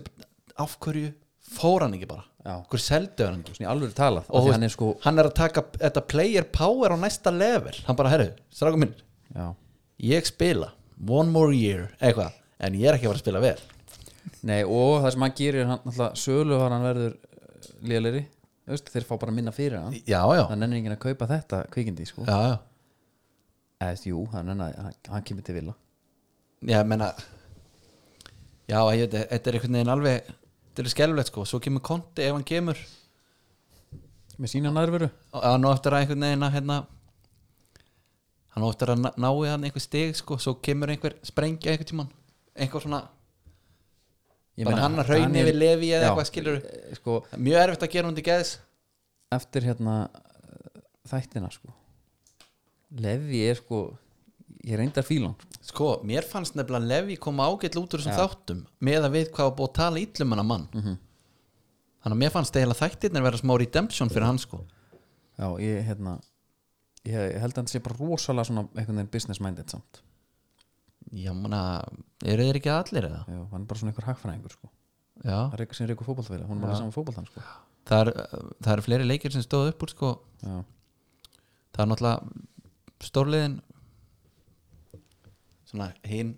Speaker 2: af hverju fór hann ekki bara
Speaker 1: Já.
Speaker 2: hverju seldu hann ekki
Speaker 1: svona í alveg talað,
Speaker 2: og
Speaker 1: og
Speaker 2: þú
Speaker 1: hann er
Speaker 2: veist,
Speaker 1: sko
Speaker 2: hann er að taka þetta player power á næsta level hann bara herru, strákum minn
Speaker 1: já.
Speaker 2: ég spila one more year eitthvað en ég er ekki að fara að spila vel
Speaker 1: Nei, og það sem hann gerir hann náttúrulega söluvar hann verður eh, léleri, þeir fá bara minna fyrir hann
Speaker 2: já já,
Speaker 1: það nennir enginn að kaupa þetta kvikindi sko.
Speaker 2: já, já.
Speaker 1: eða jú, það nenni að hann, hann kemur til vila
Speaker 2: Já, ég meina Já, ég, veit, þetta er einhvern veginn alveg Þetta er skelflegt sko, svo kemur konti ef hann kemur
Speaker 1: með sína nærveru
Speaker 2: og hann á eftir að einhvern veginn að hérna hann á eftir að ná- ná í hann einhver stig sko, svo kemur einhver sprengja einhvern tímann einhver svona,
Speaker 1: Ég
Speaker 2: bara
Speaker 1: meina,
Speaker 2: hann að raun
Speaker 1: Daniel-
Speaker 2: yfir lefi eða
Speaker 1: Já,
Speaker 2: eitthvað skilur
Speaker 1: eh, sko,
Speaker 2: mjög erfitt að gera hundi geðis
Speaker 1: eftir hérna eh, þættina sko Levi er sko ég reyndar fílan sko.
Speaker 2: sko, mér fannst nefnilega Levi koma ágætt út úr þessum þáttum með að við hvað var búið að tala ítlum hennar mann
Speaker 1: Mhm.
Speaker 2: þannig að mér fannst eiginlega þættirnir vera smá redemption fyrir hann sko
Speaker 1: já, ég hérna ég, ég held að hann sé bara rosalega svona einhvern veginn business minded samt
Speaker 2: já, manna, eru þeir ekki allir eða?
Speaker 1: já, hann er bara svona einhver hagfræðingur sko
Speaker 2: Já,
Speaker 1: það er eitthvað sem er eitthvað fótballtafélag, hún var í saman fótballtan sko
Speaker 2: það er, það er fleiri leikir sem stóð upp úr sko,
Speaker 1: já,
Speaker 2: það er náttúrulega stórliðin svona hinn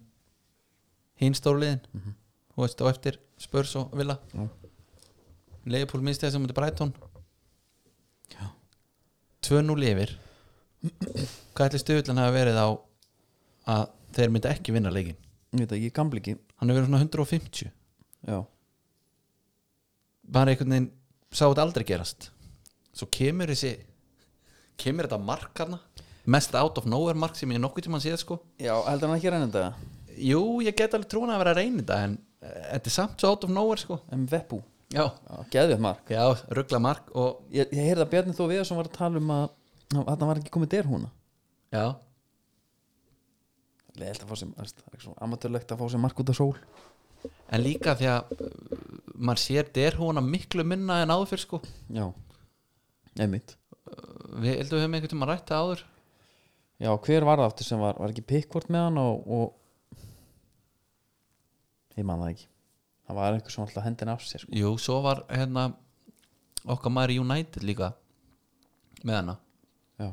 Speaker 2: hinn stórliðin þú veist á eftir Spurs og Villa
Speaker 1: Já.
Speaker 2: Leifupúl misti þessum mútið Brighton 2-0 yfir hvað ætli stuðlan hafa verið á að þeir myndi ekki vinna
Speaker 1: ég
Speaker 2: leikin
Speaker 1: veit að ég gamli ekki
Speaker 2: hann hefur verið svona 150
Speaker 1: já,
Speaker 2: bara einhvern veginn sá þetta aldrei gerast svo kemur þessi kemur þetta mark hana mest out of nowhere mark sem ég nokkuð tímann séð sko
Speaker 1: já heldur hann ekki reynda
Speaker 2: jú, ég get alveg trúna að vera að reyna þetta en eh, þetta er samt svo out of nowhere sko
Speaker 1: en Veppu,
Speaker 2: já,
Speaker 1: geðvett mark
Speaker 2: já ruggla mark og
Speaker 1: ég, ég heyrði að Bjarni Þó Viðarsson var að tala um að að hann var ekki komið derhúna
Speaker 2: já,
Speaker 1: leðilt að fá sem, það er svona amatörlegt að fá sem mark út af sól
Speaker 2: en líka því að eh, maður sér derhúna miklu minna en áður fyrir sko
Speaker 1: já, einmitt
Speaker 2: við heldum við höfum einhvern tímann rætt það áður
Speaker 1: já, hver var það aftur sem var, var ekki pikkvort með hann og, og ég man það ekki það var einhver sem alltaf hendin af sér sko.
Speaker 2: jú, svo var hérna okkar maður í United líka með hana
Speaker 1: já.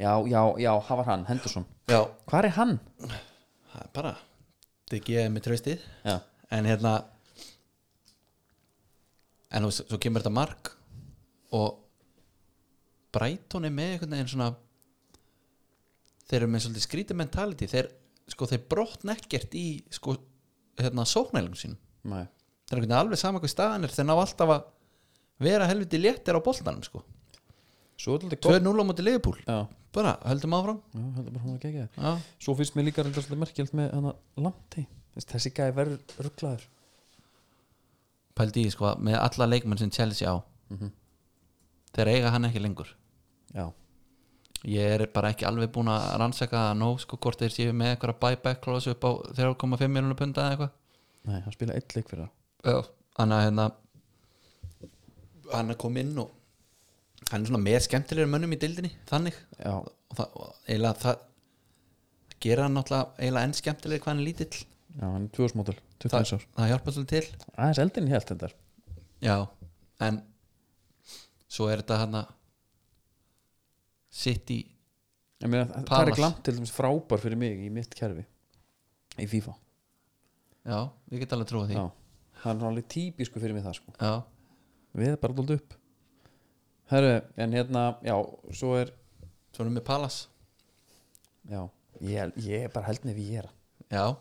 Speaker 1: já, já, já, það var hann, Henderson
Speaker 2: já,
Speaker 1: hvar er hann?
Speaker 2: það er bara þið gefið mér tröstið
Speaker 1: já,
Speaker 2: en hérna en þú veist, svo kemur þetta mark og Brighton er með einhvern veginn svona þeir eru með svolítið skrítið mentality þeir, sko, þeir brotna ekkert í sko, hérna, sóknælum sínum
Speaker 1: nei,
Speaker 2: þeir eru einhvern veginn alveg sama hvað staðan er þeir ná alltaf að vera helviti léttir á boltanum sko.
Speaker 1: svo er þetta gott
Speaker 2: 2-0 á móti liðbúl
Speaker 1: já,
Speaker 2: bara höldum áfram
Speaker 1: já, heldur bara hún að gegja
Speaker 2: já,
Speaker 1: svo finnst mér líka reynda svolítið merkjöld með hann að lanti þessi gæði verður rugglaður
Speaker 2: pældi í sko, með alla leikmenn sem Chelsea á Mhm. þeir eiga hann ekki lengur
Speaker 1: já,
Speaker 2: ég er bara ekki alveg búin að rannsaka það nóg sko hvort þeir séu með eitthvað buyback klásu upp á 3,5 miljónu punda eða eitthvað
Speaker 1: Nei, hann spilaði eitt leik fyrir það
Speaker 2: Já, hann að hérna hann að kom inn og hann er svona með skemmtilegri mönnum í dildinni þannig
Speaker 1: Já,
Speaker 2: og það, og eiginlega það það gera hann náttúrulega eiginlega enn skemmtilegri hvað hann er lítill
Speaker 1: já hann er tvöðsmótel, 21
Speaker 2: það,
Speaker 1: árs
Speaker 2: það hjálpa svolítið til
Speaker 1: Aðeins eldin hélt þetta
Speaker 2: Já, en svo er þetta hérna hann að sitt í
Speaker 1: Ég meina, það- Það
Speaker 2: Palace.
Speaker 1: er glamt til dæmis frábær fyrir mig í mitt kerfi Í FIFA
Speaker 2: já, ég get alveg trúið því
Speaker 1: Já, það er náttúrulega típisku fyrir mig það sko
Speaker 2: já,
Speaker 1: Við erum bara dóldu upp Herru, en hérna, já, svo er
Speaker 2: svo erum við Palas
Speaker 1: Já, ég, ég er bara held nefn við ég er
Speaker 2: já,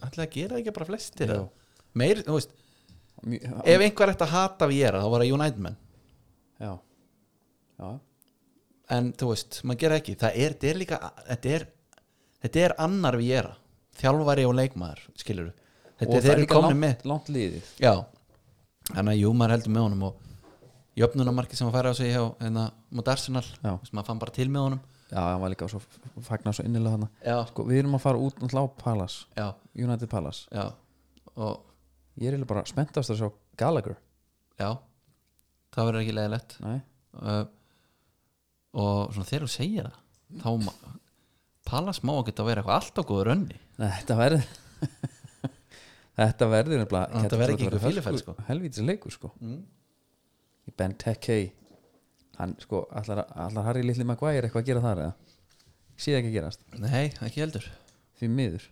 Speaker 2: ætlaði að gera það ekki bara flestir
Speaker 1: Já.
Speaker 2: eða? meir, þú veist
Speaker 1: Mjö-
Speaker 2: ef einhver ætti að hata Viera þá var það United menn
Speaker 1: Já, já,
Speaker 2: en þú veist, maður gera ekki það er, þetta er líka þetta er, þetta er annar Viera þjálfari og leikmaður, skilur þetta
Speaker 1: Og
Speaker 2: er þeir
Speaker 1: það er
Speaker 2: eru
Speaker 1: líka
Speaker 2: komin
Speaker 1: langt,
Speaker 2: með
Speaker 1: langt liðið
Speaker 2: já, þannig að jú, maður heldur með honum og jöfnunamarki sem að færa á sig hjá hérna, mot Arsenal,
Speaker 1: Já.
Speaker 2: Þú veist, maður fann bara til með honum
Speaker 1: Já, hann var líka svo fagnar svo innilega hana
Speaker 2: já,
Speaker 1: Sko, við erum að fara út náttúrulega á Palace
Speaker 2: já,
Speaker 1: United Palace
Speaker 2: já og
Speaker 1: Ég er eiginlega bara spenntast að sjá Gallagher
Speaker 2: já, það verður ekki leiðilegt
Speaker 1: Nei,
Speaker 2: uh, og svona þegar þú segir það þá ma- Palace má ekki að vera eitthvað alltaf góður önni
Speaker 1: Nei þetta verður Þetta verður nefnilega
Speaker 2: Þetta
Speaker 1: hérna
Speaker 2: verður
Speaker 1: ætlar
Speaker 2: ekki
Speaker 1: að
Speaker 2: einhver
Speaker 1: vera
Speaker 2: fílifæll,
Speaker 1: hörku- Helvítis leikur sko mm. Í Ben Teke Hann sko, allar, allar Harry Lilli Maguire eitthvað að gera þar eða Ég Sé það ekki að gerast,
Speaker 2: nei, ekki heldur
Speaker 1: því miður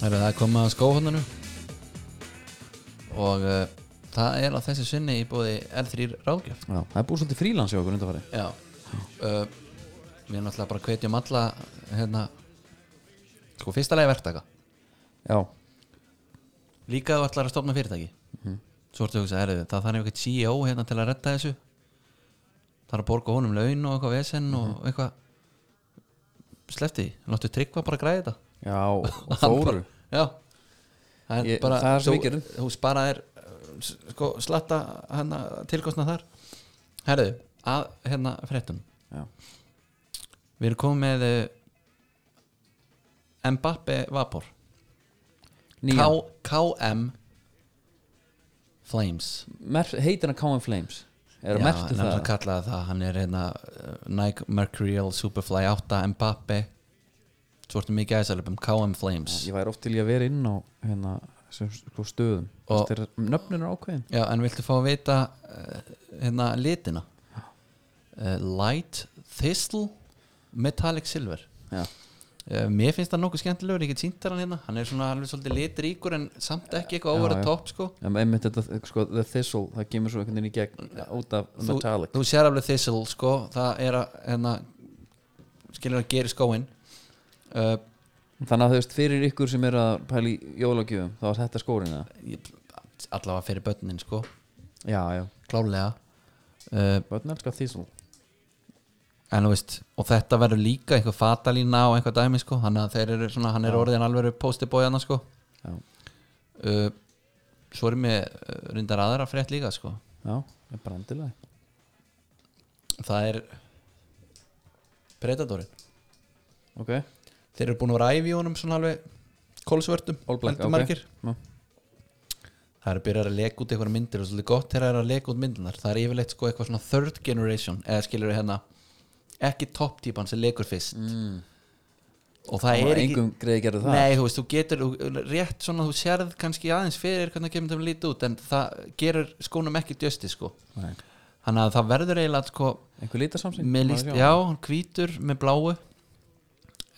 Speaker 2: Heru, það er komið að skóhóndinu og uh, það er á þessi sinni í bóði L3 ráðgjöf
Speaker 1: Já, það er búið svolítið frílans hjá okkur undanfari
Speaker 2: já uh, við erum alltaf bara hvetjum alla hérna sko fyrsta lagi verktaka
Speaker 1: Já,
Speaker 2: líka ef þú ætlar að stofna fyrirtæki
Speaker 1: Mhm.
Speaker 2: svo ertu að hugsa, erðu, það þarf eitthvað CEO hérna til að redda þessu þarf að borga honum laun og eitthvað vesen
Speaker 1: Mhm.
Speaker 2: og eitthvað slefti, láttu tryggva bara að græða þetta
Speaker 1: já, og
Speaker 2: Hann
Speaker 1: Þóru
Speaker 2: bara- já það er,
Speaker 1: Ég-
Speaker 2: bara,
Speaker 1: það er svo
Speaker 2: þú-
Speaker 1: við gerum.
Speaker 2: þú sparaðir uh, s- sko, slatta hana, tilkostna þar herðu, að hérna fréttum
Speaker 1: Já.
Speaker 2: við erum komið með uh, Mbappe Vapor K
Speaker 1: Nýjan,
Speaker 2: KM Flames
Speaker 1: Mer- heitir hann Káin Flames Er að mertu
Speaker 2: hann er
Speaker 1: það
Speaker 2: að kalla það hann er hérna uh, Nike Mercurial Superfly 8 Mbappe svo ertu mikið aðeinsalöpum KM um Flames
Speaker 1: Ég væri oft til ég að vera inn á hérna, sem, sko, stöðum
Speaker 2: Og-
Speaker 1: Þetta er nöfnin er ákveðin
Speaker 2: Já, en viltu fá að vita uh, hérna litina uh, Light, Thistle Metallic Silver
Speaker 1: Já,
Speaker 2: uh, Mér finnst það nokkuð skemmtilegur, ég get sýntar hann hérna Hann er svona alveg svolítið litríkur en samt ekki eitthvað
Speaker 1: Já,
Speaker 2: over the
Speaker 1: já.
Speaker 2: top sko
Speaker 1: en einmitt þetta, sko, The Thistle það kemur svo einhvern veginn í gegn út af
Speaker 2: Þú,
Speaker 1: Metallic
Speaker 2: þú sér alveg Thistle sko Það er að hérna, skilur að gera í skóin uh,
Speaker 1: Þannig að þú veist, fyrir ykkur sem er að pæli jólagjöfum, þá er þetta skórin eða?
Speaker 2: ég- Allavega fyrir börnin sko
Speaker 1: Já, já,
Speaker 2: Klálega uh,
Speaker 1: börn elskar Thistle
Speaker 2: En þú veist, og þetta verður líka einhver fatalína og einhver dæmi sko Þannig að þeir eru svona, hann er orðin alveg postibójana sko
Speaker 1: Já,
Speaker 2: uh, Svo erum við uh, reyndar aðra frétt líka sko
Speaker 1: já, það er brandilega
Speaker 2: Það er Predatorin
Speaker 1: Ok,
Speaker 2: Þeir eru búin að vera æfi honum svona alveg kólsvörtum,
Speaker 1: All Black,
Speaker 2: heldur
Speaker 1: ok.
Speaker 2: margir
Speaker 1: Nú.
Speaker 2: Það eru byrjar að leka út einhverja myndir og svolítið gott þegar það er að leka út myndirnar Það er yfirleitt sko eitthvað svona third generation eða skilur hérna ekki topp típan sem lekur fyrst mm. og það
Speaker 1: og
Speaker 2: er ekki
Speaker 1: engum greiði gerðu það
Speaker 2: Nei, þú veist, þú getur þú- rétt svona, þú sérð kannski aðeins fyrir hvernig kemur þeim lítið út en það gerur skónum ekki djösti sko
Speaker 1: Nei.
Speaker 2: þannig að það verður eiginlega sko
Speaker 1: Einhver lítasamsýn
Speaker 2: með líst, já, hann hvítur með bláu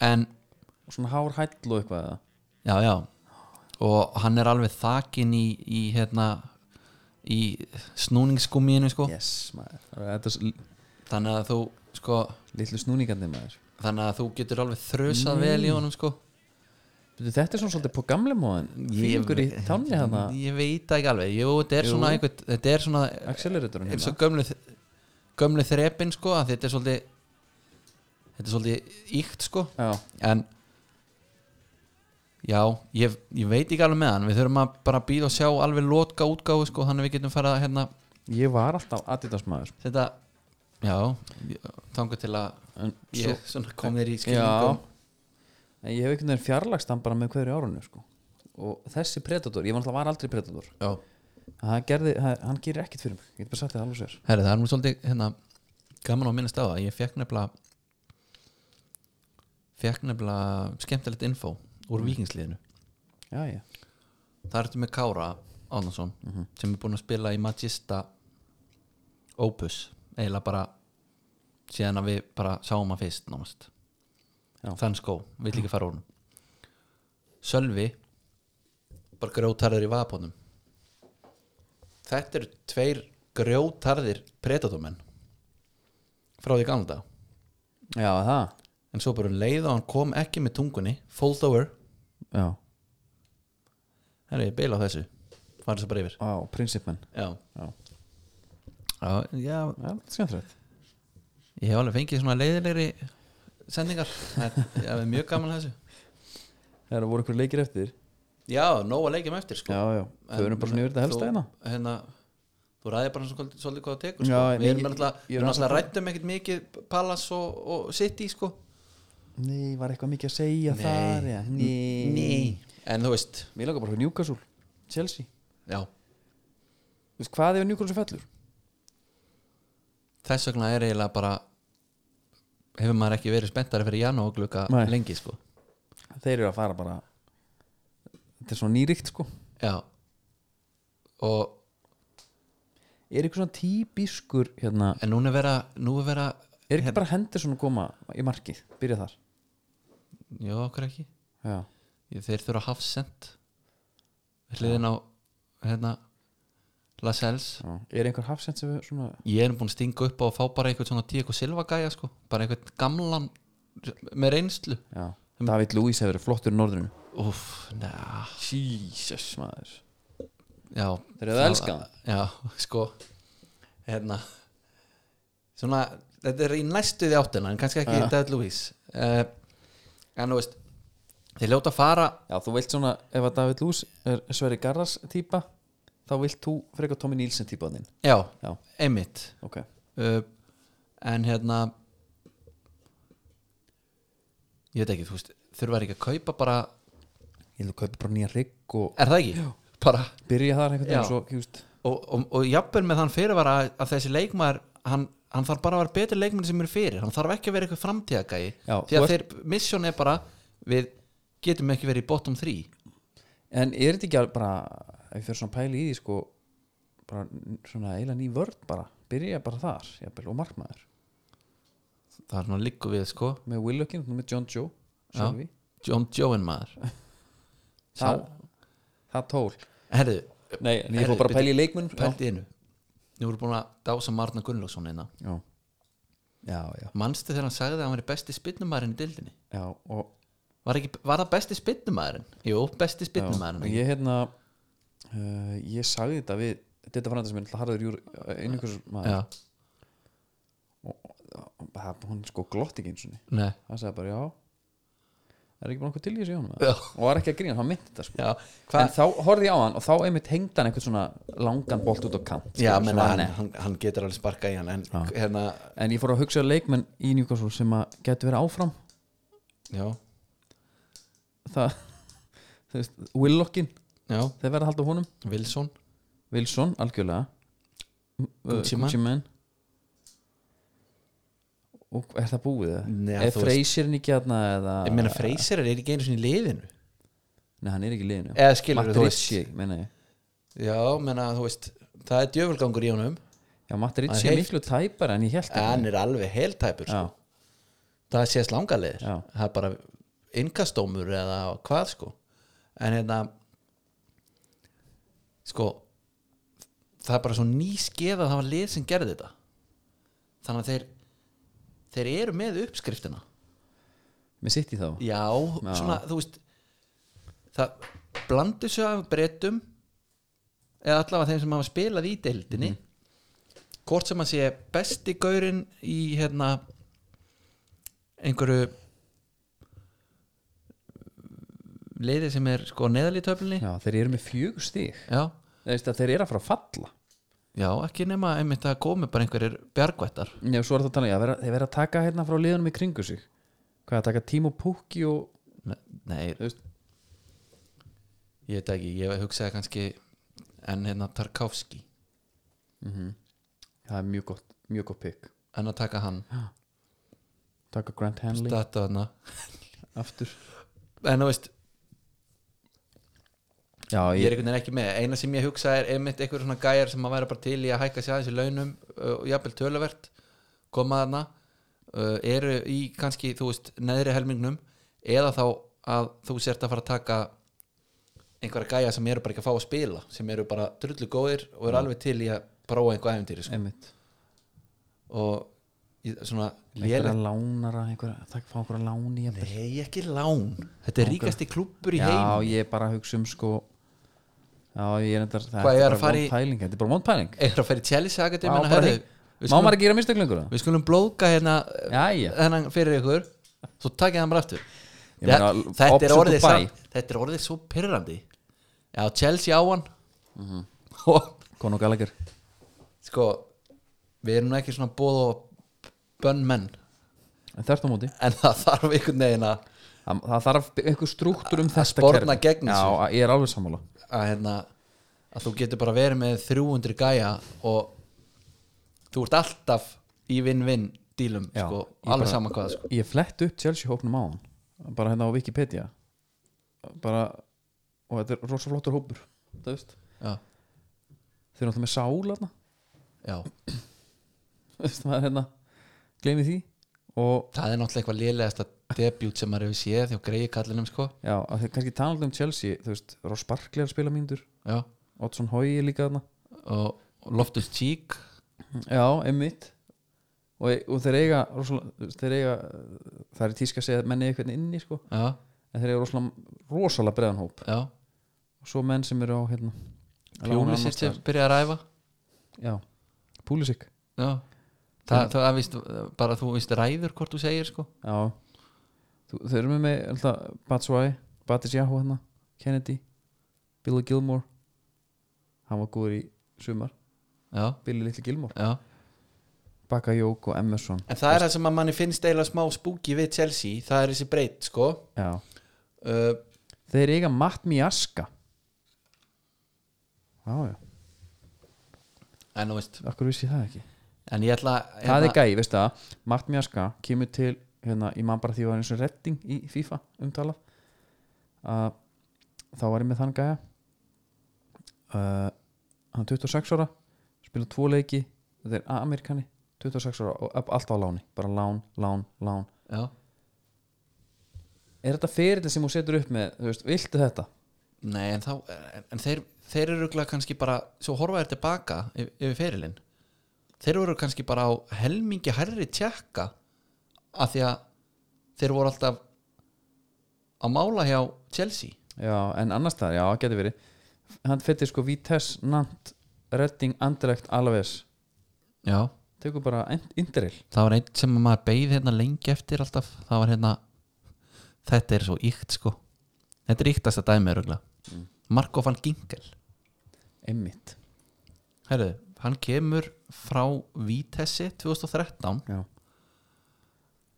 Speaker 2: en,
Speaker 1: Og svona hár hæll og eitthvað eða?
Speaker 2: já, já og hann er alveg þakin í, í hérna í snúningsskumínu sko
Speaker 1: Yes, maður Þetta er s-
Speaker 2: þannig að þú sko
Speaker 1: litlu snúningandi maður
Speaker 2: þannig að þú getur alveg þrösað vel
Speaker 1: Mm.
Speaker 2: í honum sko
Speaker 1: Veitu, Þetta er svona svolítið på gamle móðin Fingur í tánni hana
Speaker 2: ég veit það ekki alveg, jú, þetta er
Speaker 1: Jú.
Speaker 2: svona einhvern, þetta er svona
Speaker 1: Acceleratorinn
Speaker 2: eins og
Speaker 1: hérna
Speaker 2: gömlu gömlu þrepin sko að þetta er svolítið þetta er svolítið íkt sko
Speaker 1: Já,
Speaker 2: en Já, ég, ég veit ekki alveg með hann Við þurfum að bara býða og sjá alveg lotka útgáfu sko, þannig að við getum fara hérna
Speaker 1: ég var alltaf Adidas maður
Speaker 2: þetta, já þangu til að
Speaker 1: en,
Speaker 2: ég svona kom þér í
Speaker 1: Já
Speaker 2: skilningum
Speaker 1: En ég hef einhvern veginn fjarlægst hann bara með hverju árunni sko. og þessi predator, ég var alltaf var aldrei predator
Speaker 2: Já,
Speaker 1: hann, gerði, hann, hann gerir ekkert fyrir mig ég get bara sagt þetta alveg sér
Speaker 2: herri, það er nú svolítið hérna, gaman á minnast á það ég fekk nefnilega fekk nefnilega skemmtilegt info
Speaker 1: Mm.
Speaker 2: úr vikingsliðinu
Speaker 1: já, já.
Speaker 2: það ertu með Kára Árnason sem er búin að spila í Magista Opus eiginlega bara síðan að við bara sáum að fyrst námast
Speaker 1: Já.
Speaker 2: þann skó, vill ekki fara úr honum. Sölvi bara grjótarður í vapunum þetta eru tveir grjótarðir predatómenn frá því gamla dag
Speaker 1: já, það
Speaker 2: en svo bara um leið og hann kom ekki með tungunni fold over,
Speaker 1: já.
Speaker 2: herri, ég beila á þessu farið svo bara yfir
Speaker 1: á, prinsipmenn
Speaker 2: já,
Speaker 1: já.
Speaker 2: já, já
Speaker 1: Já, skemmtilegt
Speaker 2: Ég hef alveg fengið svona leiðilegri sendingar Það er- ég hef mjög gaman að þessu
Speaker 1: það voru ykkur leikir eftir
Speaker 2: Já, nóg að leikjum eftir sko
Speaker 1: já, já, þau erum bara svona yfir þetta helsta hérna
Speaker 2: Þú, hérna, þú ræðir bara svona svolítið hvað það tekur sko.
Speaker 1: Já, en
Speaker 2: Við erum
Speaker 1: ég-
Speaker 2: alltaf,
Speaker 1: ég
Speaker 2: við
Speaker 1: er
Speaker 2: erum
Speaker 1: aðeins
Speaker 2: alltaf rættum ekkert mikið Palace og, og City sko
Speaker 1: nei, var eitthvað mikið að segja þar já.
Speaker 2: En þú veist,
Speaker 1: mér langar bara fyrir Newcastle, Chelsea
Speaker 2: já
Speaker 1: Þú veist, hvað ef Newcastle fellur?
Speaker 2: Þess vegna er eiginlega bara Hefur maður ekki verið spenntari fyrir janú og glukka
Speaker 1: Nei.
Speaker 2: lengi sko
Speaker 1: þeir eru að fara bara þetta er svona nýrikt sko
Speaker 2: Já Og
Speaker 1: er eitthvað svona típiskur hérna,
Speaker 2: en núna vera, nú er vera
Speaker 1: er ekki bara hendur svona að koma í markið, byrja þar
Speaker 2: Já, okkur ekki
Speaker 1: já,
Speaker 2: Ég- þeir þurfa hafsend hliðin á hérna Lascelles
Speaker 1: já. er einhver hafsend sem er svona
Speaker 2: ég er búinn að stinga upp á að fá bara einhvern svona Diego Silva gæja sko, bara einhvern gamlan með reynslu
Speaker 1: já. David Luís hefur verið flottur í norðrinu
Speaker 2: Úff, neða
Speaker 1: Jesus maður
Speaker 2: já,
Speaker 1: Þeir hefðu elskað hann.
Speaker 2: já, sko hérna svona, þetta er í næstu því áttina en kannski ekki David Luiz uh, en þú veist þeir ljóta að fara
Speaker 1: já, þú vilt svona, ef að David Luís er Sverri Garras típa þá vilt þú frekar Tommy Nielsen típa þinn
Speaker 2: já,
Speaker 1: Já.
Speaker 2: einmitt
Speaker 1: ok,
Speaker 2: uh, en hérna ég veit ekki, þú veist þurfa ekki að kaupa bara,
Speaker 1: ég vil kaupa bara nýja rigg og
Speaker 2: er það ekki? bara,
Speaker 1: byrja þar einhvern
Speaker 2: Já.
Speaker 1: veginn svo, just,
Speaker 2: og, og, og jafnvel með þann fyrirvara að, að þessi leikmaður hann, hann þarf bara að vera betur leikmenn sem eru fyrir hann þarf ekki að vera eitthvað framtíðagæi
Speaker 1: Já,
Speaker 2: því að
Speaker 1: þú
Speaker 2: þeir, misjón er bara við getum ekki verið í bottom 3
Speaker 1: en er þetta ekki al- bara ef ég fyrir svona pæli í því sko bara n- svona eiginlega ný vörd bara byrja bara þar, jafnvel, og markmaður
Speaker 2: það er nú líku við sko
Speaker 1: með Willökin, með John Joe
Speaker 2: Já.
Speaker 1: Sölvi,
Speaker 2: John Jowen maður
Speaker 1: það, það tól
Speaker 2: herðu,
Speaker 1: Nei, en ég fór bara að pæla í sko. leikmunum
Speaker 2: pældi innu nú erum búin að dása Marna Gunnlaugsson hérna. einna
Speaker 1: já. já, já,
Speaker 2: manstu þegar hann sagði að hann væri besti spinnumæðurinn í dildinni
Speaker 1: já og,
Speaker 2: var, ekki, var það besti spinnumæðurinn? Jú, besti
Speaker 1: já, og
Speaker 2: spinnumæðurinn
Speaker 1: ég hérna uh, ég sagði þetta við þetta var þetta sem er alltaf harður uh, júr einhvers maður
Speaker 2: Já,
Speaker 1: og það- hún sko glotti ekki eins og
Speaker 2: nei
Speaker 1: það sagði bara já er ekki bara nokkuð til í þessu hjá honum
Speaker 2: Já.
Speaker 1: eða?" og var ekki að grína, hann myndi þetta sko
Speaker 2: Já,
Speaker 1: en þá horfði ég á hann og þá einmitt hengd hann einhvern svona langan bolt út á kant sko,
Speaker 2: Já,
Speaker 1: sem
Speaker 2: menn
Speaker 1: var
Speaker 2: hann,
Speaker 1: net.
Speaker 2: hann, hann getur alveg sparka í hann en hérna,
Speaker 1: en ég fór að hugsa um leikmenn í Newcastle sem að getur verið áfram
Speaker 2: já,
Speaker 1: það þú veist, Willockin,
Speaker 2: já
Speaker 1: þeir verða að halda á honum
Speaker 2: Wilson,
Speaker 1: Wilson, algjörlega uh,
Speaker 2: Gucci Man.
Speaker 1: Man og er það búið það?
Speaker 2: Nei,
Speaker 1: er
Speaker 2: þú veist-
Speaker 1: Freysirin ekki aðna eða
Speaker 2: ég meina Freyser er ekki einu sinni í liðinu
Speaker 1: nei, hann er ekki í liðinu
Speaker 2: Eða skilurðu,
Speaker 1: Matt
Speaker 2: þú veist.
Speaker 1: Ritchie, meina ég
Speaker 2: Já, menna, þú veist, það er djöfulgangur í honum
Speaker 1: já, Matt Ritchie
Speaker 2: Hann
Speaker 1: er
Speaker 2: er
Speaker 1: miklu tæpar en ég held
Speaker 2: en hann er alveg heiltæpur sko.
Speaker 1: já,
Speaker 2: það sést langalegir
Speaker 1: Já.
Speaker 2: það er bara innkastómur eða hvað sko en hérna sko það er bara svo nýskeð að það var lið sem gerði þetta þannig að þeir þeir eru með uppskriftina
Speaker 1: með sitt í þá
Speaker 2: já, svona þú veist það blandu svo af breytum eða allavega þeim sem hafa spilað í deildinni hvort sem að sé besti gaurinn í hérna einhverju liðið sem er sko neðal í töflunni
Speaker 1: Já, þeir eru með fjögur stig
Speaker 2: já,
Speaker 1: Þeir, þeir eru að fara að falla
Speaker 2: já, ekki nema einmitt að komi bara einhverjir bjargvættar
Speaker 1: Nei, og svo er það að tala, um, já, vera- þeir verða að taka hérna frá liðunum í kringu sig Hvað að taka Timo Pukki og
Speaker 2: Ne- Nei,
Speaker 1: þú veist,
Speaker 2: ég veit ekki, ég hugsaði kannski en hérna Tarkovski
Speaker 1: það er mjög gott, mjög gott pick
Speaker 2: en að taka hann,
Speaker 1: Taka Grant Hanley
Speaker 2: þetta hann
Speaker 1: aftur
Speaker 2: en þú veist,
Speaker 1: Já,
Speaker 2: ég
Speaker 1: ég,
Speaker 2: er einhvern veginn ekki með eina sem ég hugsaði er einmitt einhver svona gæjar sem að væri bara til í að hækka sér aðeins í launum uh, og jafnvel töluvert koma þarna uh, eru í kannski, þú veist, neðri helmingnum eða þá að þú sért að fara að taka einhverja gæja sem eru bara ekki að fá að spila sem eru bara drullu góðir og eru alveg til í að prófa einhver æfintýri sko.
Speaker 1: einmitt
Speaker 2: og í- svona
Speaker 1: Einhverja
Speaker 2: lélegt
Speaker 1: lánara, einhverja, taka fá einhverja láni jafnvel.
Speaker 2: Nei, ekki lán Þetta er ríkasti klúppur í
Speaker 1: Já,
Speaker 2: heim
Speaker 1: ég er bara að hugsa um sko Já, ég er endar
Speaker 2: Hvað, ég er að fara í-
Speaker 1: pæling, Þetta er bara vond pæling
Speaker 2: Er að færi Chelsea
Speaker 1: Má
Speaker 2: Akademina
Speaker 1: bara
Speaker 2: herðu,
Speaker 1: hring-
Speaker 2: við,
Speaker 1: Má maður
Speaker 2: skulum,
Speaker 1: að gera mistöklingur
Speaker 2: við skulum blóðka hérna
Speaker 1: Jæja.
Speaker 2: Hennan fyrir ykkur Svo takk ég hann bara aftur
Speaker 1: Ég meina,
Speaker 2: Þe- þetta, er
Speaker 1: option
Speaker 2: orðið
Speaker 1: to buy.
Speaker 2: samt, þetta er orðið svo pyrrandi Já, Chelsea á hann
Speaker 1: Mhm.
Speaker 2: Og
Speaker 1: Konu og Gallagher
Speaker 2: sko Við erum nú ekki svona bóð og bönn menn
Speaker 1: En þert á móti
Speaker 2: En það þarf einhvern veginn að
Speaker 1: Það, það þarf einhver struktúr um þetta
Speaker 2: sporna
Speaker 1: kerfi.
Speaker 2: gegn
Speaker 1: Já,
Speaker 2: þessu.
Speaker 1: að- ég er alveg sammála
Speaker 2: að, hérna, að þú getur bara verið með 300 gæja og þú ert alltaf í vinn-vinn dílum,
Speaker 1: Já,
Speaker 2: sko,
Speaker 1: ég
Speaker 2: alveg
Speaker 1: bara-
Speaker 2: sama hvað sko.
Speaker 1: Ég flett upp Chelsea hópnum á hann Bara hérna á Wikipedia Bara Og þetta er rosa flottur hópur Það veist
Speaker 2: já,
Speaker 1: Þeir eru náttúrulega með sál hérna
Speaker 2: já.
Speaker 1: Þú veist, maður hérna Gleimi því Og
Speaker 2: það er náttúrulega eitthvað lélegasta debut sem maður hefur séð hjá greiði kallinum sko.
Speaker 1: já, að þeir kannski tala um Chelsea Þú veist, Ross Barkley er að spila mínútur
Speaker 2: já,
Speaker 1: Oddsson Hói er líka þarna
Speaker 2: og, og Loftus Cheek
Speaker 1: Mm, Já, einmitt og, e- og þeir eiga, rosalega, þeir eiga það er í tíska að segja að menn eiga eitthvað inni sko,
Speaker 2: já,
Speaker 1: en þeir eiga rosalega, rosalega breiðan hóp
Speaker 2: já,
Speaker 1: og svo menn sem eru á hérna að lána annars
Speaker 2: Pjúlisir sem
Speaker 1: staðar.
Speaker 2: byrja að ræfa
Speaker 1: Já, Púlisik
Speaker 2: já Þa, það er víst, bara þú víst ræður hvort þú segir sko
Speaker 1: Já Þú, Þeir eru með með alltaf Batsvæ, Batis Yahoo hérna Kennedy, Billy Gilmore hann var góður í sumar
Speaker 2: já,
Speaker 1: Billy Little Gilmore,
Speaker 2: já
Speaker 1: Baka Jók og Emerson
Speaker 2: en það er það sem að manni finnst eiginlega smá spúki við Chelsea, það er þessi breytt sko
Speaker 1: Já,
Speaker 2: uh,
Speaker 1: þeir eiga Matt Miaska Já, já,
Speaker 2: en þú veist
Speaker 1: akkur vissi ég það ekki
Speaker 2: En ég ætla hérna- að
Speaker 1: það er gæi, veistu það, Mart Mjaska kemur til, hérna, ég man bara því að var eins og redding í FIFA umtalað að þá var ég með þann gæja uh, hann er 26 ára spila tvo leiki, þetta er Amerikani 26 ára og upp- allt á láni bara lán, lán, lán
Speaker 2: Já,
Speaker 1: er þetta fyrirlega sem hún setur upp með, þú veist, viltu þetta
Speaker 2: nei en þá En, en þeir, þeir eru örugglega kannski bara Svo horfa þér tilbaka yf- yfir ferilinn Þeir eru kannski bara á helmingi herri tjekka Af því að þeir voru alltaf Að mála hjá Chelsea
Speaker 1: já, en annars það, já, geti verið hann fyrir sko Vitesse, Nant redding, Anderlecht, Alves
Speaker 2: Já
Speaker 1: tekur bara Inderil
Speaker 2: Það var einn sem maður beið hérna lengi eftir alltaf Það var hérna Þetta er svo íkt sko Þetta er íktasta dæmi öruglega Marko van Ginkel
Speaker 1: einmitt,
Speaker 2: Herðu, hann kemur frá Vítessi 2013
Speaker 1: já,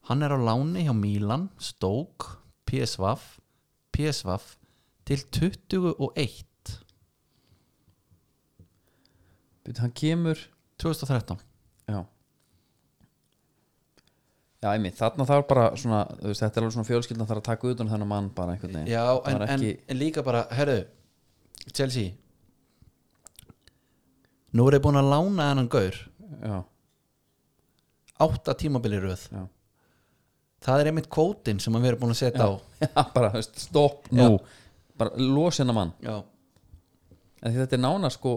Speaker 2: Hann er á láni hjá Milan, Stoke, PSV, PSV til 21
Speaker 1: Bíddu, hann kemur
Speaker 2: 2013
Speaker 1: Já Já, einmitt, þarna þarf bara svona, þú veist, þetta er alveg svona fjölskyldan þarf að taka utan um þennan mann bara einhvern veginn
Speaker 2: Já,
Speaker 1: Það
Speaker 2: en,
Speaker 1: er
Speaker 2: en,
Speaker 1: ekki,
Speaker 2: en líka bara, herðu, Chelsea Nú er ég búin að lána hennan gaur
Speaker 1: Já,
Speaker 2: átta tímabili röð
Speaker 1: Já.
Speaker 2: Það er einmitt kvótinn sem við erum búin að setja á
Speaker 1: bara, þú veist, stopp nú bara losa hennan mann
Speaker 2: Já,
Speaker 1: en því þetta er nána sko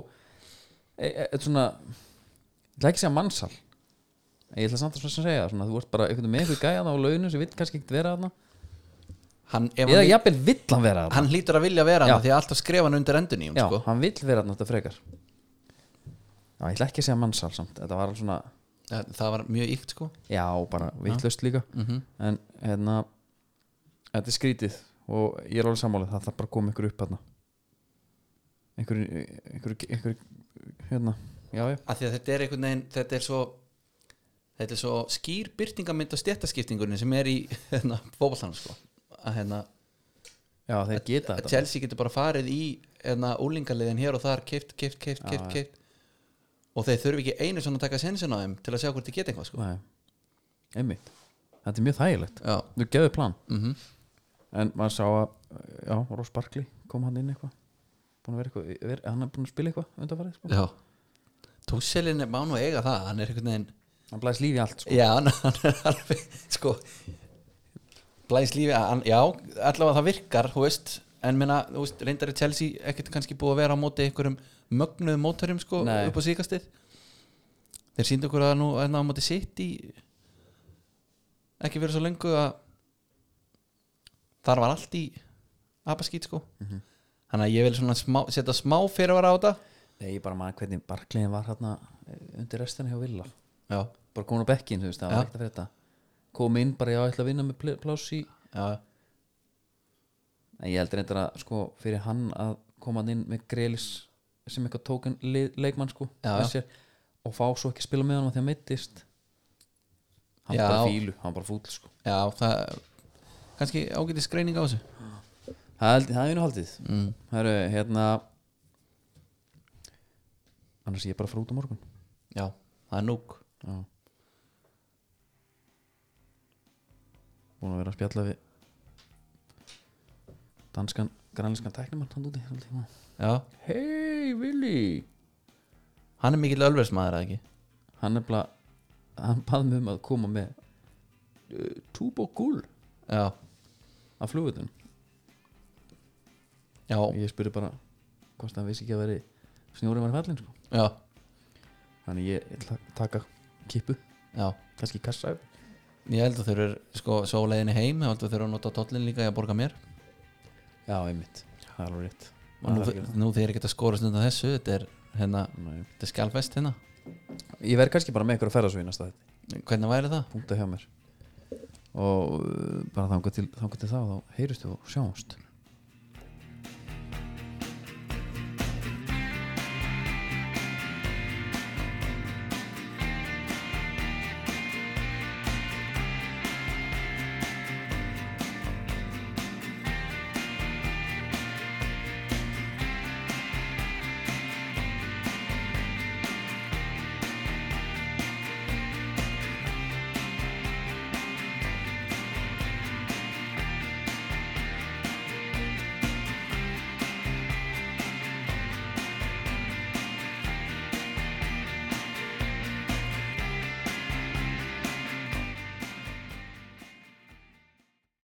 Speaker 1: e- e- eitthvað svona ég ætla ekki að segja mannsal en ég ætla samt að svona segja það, svona, þú ert bara einhvern veginn með einhver gæða á launum sem vill kannski ekkert vera þarna
Speaker 2: hann, ef
Speaker 1: eða
Speaker 2: hann,
Speaker 1: jafnvel vill hann vera þarna
Speaker 2: hann hlýtur að vilja vera
Speaker 1: Já.
Speaker 2: hann því að alltaf skrifa hann undir endunni
Speaker 1: Já,
Speaker 2: sko.
Speaker 1: hann vill vera þarna þetta frekar Já, ég ætla ekki að segja mannsal samt þetta var alveg svona
Speaker 2: Ja, Það var mjög íkt sko Mhm.
Speaker 1: Já, bara vittlust líka En hérna Þetta er skrítið og ég er alveg sammála það þarf bara að koma ykkur upp hérna einhverju, einhverju, einhverju hérna, já já
Speaker 2: af því að þetta er einhvern veginn þetta er svo þetta er svo skýr byrtingamind og stjættaskiptingunni sem er í hérna, fótboltanum sko að hérna
Speaker 1: já þeir geta
Speaker 2: að
Speaker 1: þetta
Speaker 2: Chelsea getur bara farið í hérna, úlingaliðin hér og þar keift, keift, keift,
Speaker 1: Já,
Speaker 2: keift,
Speaker 1: já.
Speaker 2: keift og þeir þurfi ekki einu svona að taka sensin á þeim til að sjá hvort þið geta eitthvað sko
Speaker 1: Nei, einmitt þetta er mjög þægilegt,
Speaker 2: já,
Speaker 1: þú geðu plan
Speaker 2: mhm
Speaker 1: en maður sá að, já, Ross Barkley kom hann inn eitthvað búin að vera eitthvað, eh, ver, hann er búin að spila eitthvað undanfarið, sko.
Speaker 2: já Tússelin er bán og eiga það, hann er einhvern veginn
Speaker 1: hann blæðis lífi í allt, sko.
Speaker 2: Já, hann, hann er alveg sko blæðis lífi, hann, já, allavega það virkar þú veist, en minna, þú veist reyndar er Chelsea ekkert kannski búið að vera á móti einhverjum mögnuðum mótorum sko
Speaker 1: Nei.
Speaker 2: upp á síkastið þeir síndu okkur að nú enna á móti sitt í ekki verið svo lengu að þar var allt í apaskýt sko þannig að ég vil svona smá, setja smá fyrirvara á þetta
Speaker 1: Nei, ég bara maður hvernig Barkleyin var hérna undir restina hjá Villa
Speaker 2: já,
Speaker 1: bara komin á bekkin, þú veist, það
Speaker 2: Já.
Speaker 1: var ekkert að fyrir þetta kom inn bara, já, ætla að vinna með pl- pláss í
Speaker 2: já,
Speaker 1: en ég heldur reyndar að, sko, fyrir hann að koma hann inn með Grelis sem eitthvað tókin leikmann, sko
Speaker 2: Já, já.
Speaker 1: með sér, og fá svo ekki að spila með hann þegar meittist hann
Speaker 2: Já.
Speaker 1: bara fílu, hann bara fúll, sko
Speaker 2: já, það kannski ágætis greining á þessu
Speaker 1: það held- það er einu haldið mm. Heru, hérna annars ég er bara að fara út á morgun
Speaker 2: Já, það er núk
Speaker 1: já búin að vera að spjalla við danskan, grænlenskan tæknimann hann úti svolítið, já.
Speaker 2: Já,
Speaker 1: hei Willi
Speaker 2: hann er mikill ölversmaður að ekki
Speaker 1: hann er bara hann bað mig um að koma með uh, túb og gúl
Speaker 2: Já,
Speaker 1: af flugutun
Speaker 2: já,
Speaker 1: ég spurði bara hvort hann vissi ekki að veri snjórið var fallin sko.
Speaker 2: já,
Speaker 1: þannig ég ætla að taka kipu
Speaker 2: já
Speaker 1: kannski kassa upp
Speaker 2: Ég held að þau eru sko svo á leiðinni heim Ég held að þau eru að nota tóllin líka í að borga mér
Speaker 1: Já, einmitt, það er alveg rétt
Speaker 2: Og nú, nú þeir eru ekki að skora stund á þessu Þetta er hérna,
Speaker 1: Nei.
Speaker 2: þetta er skjálfest hérna
Speaker 1: Ég verð kannski bara með ykkur að ferða svo í næsta þetta
Speaker 2: Hvernig væri það?
Speaker 1: eh, Punkta hjá mér Og uh, bara þangað til, þangað til þá Þá heyristu og sjáumst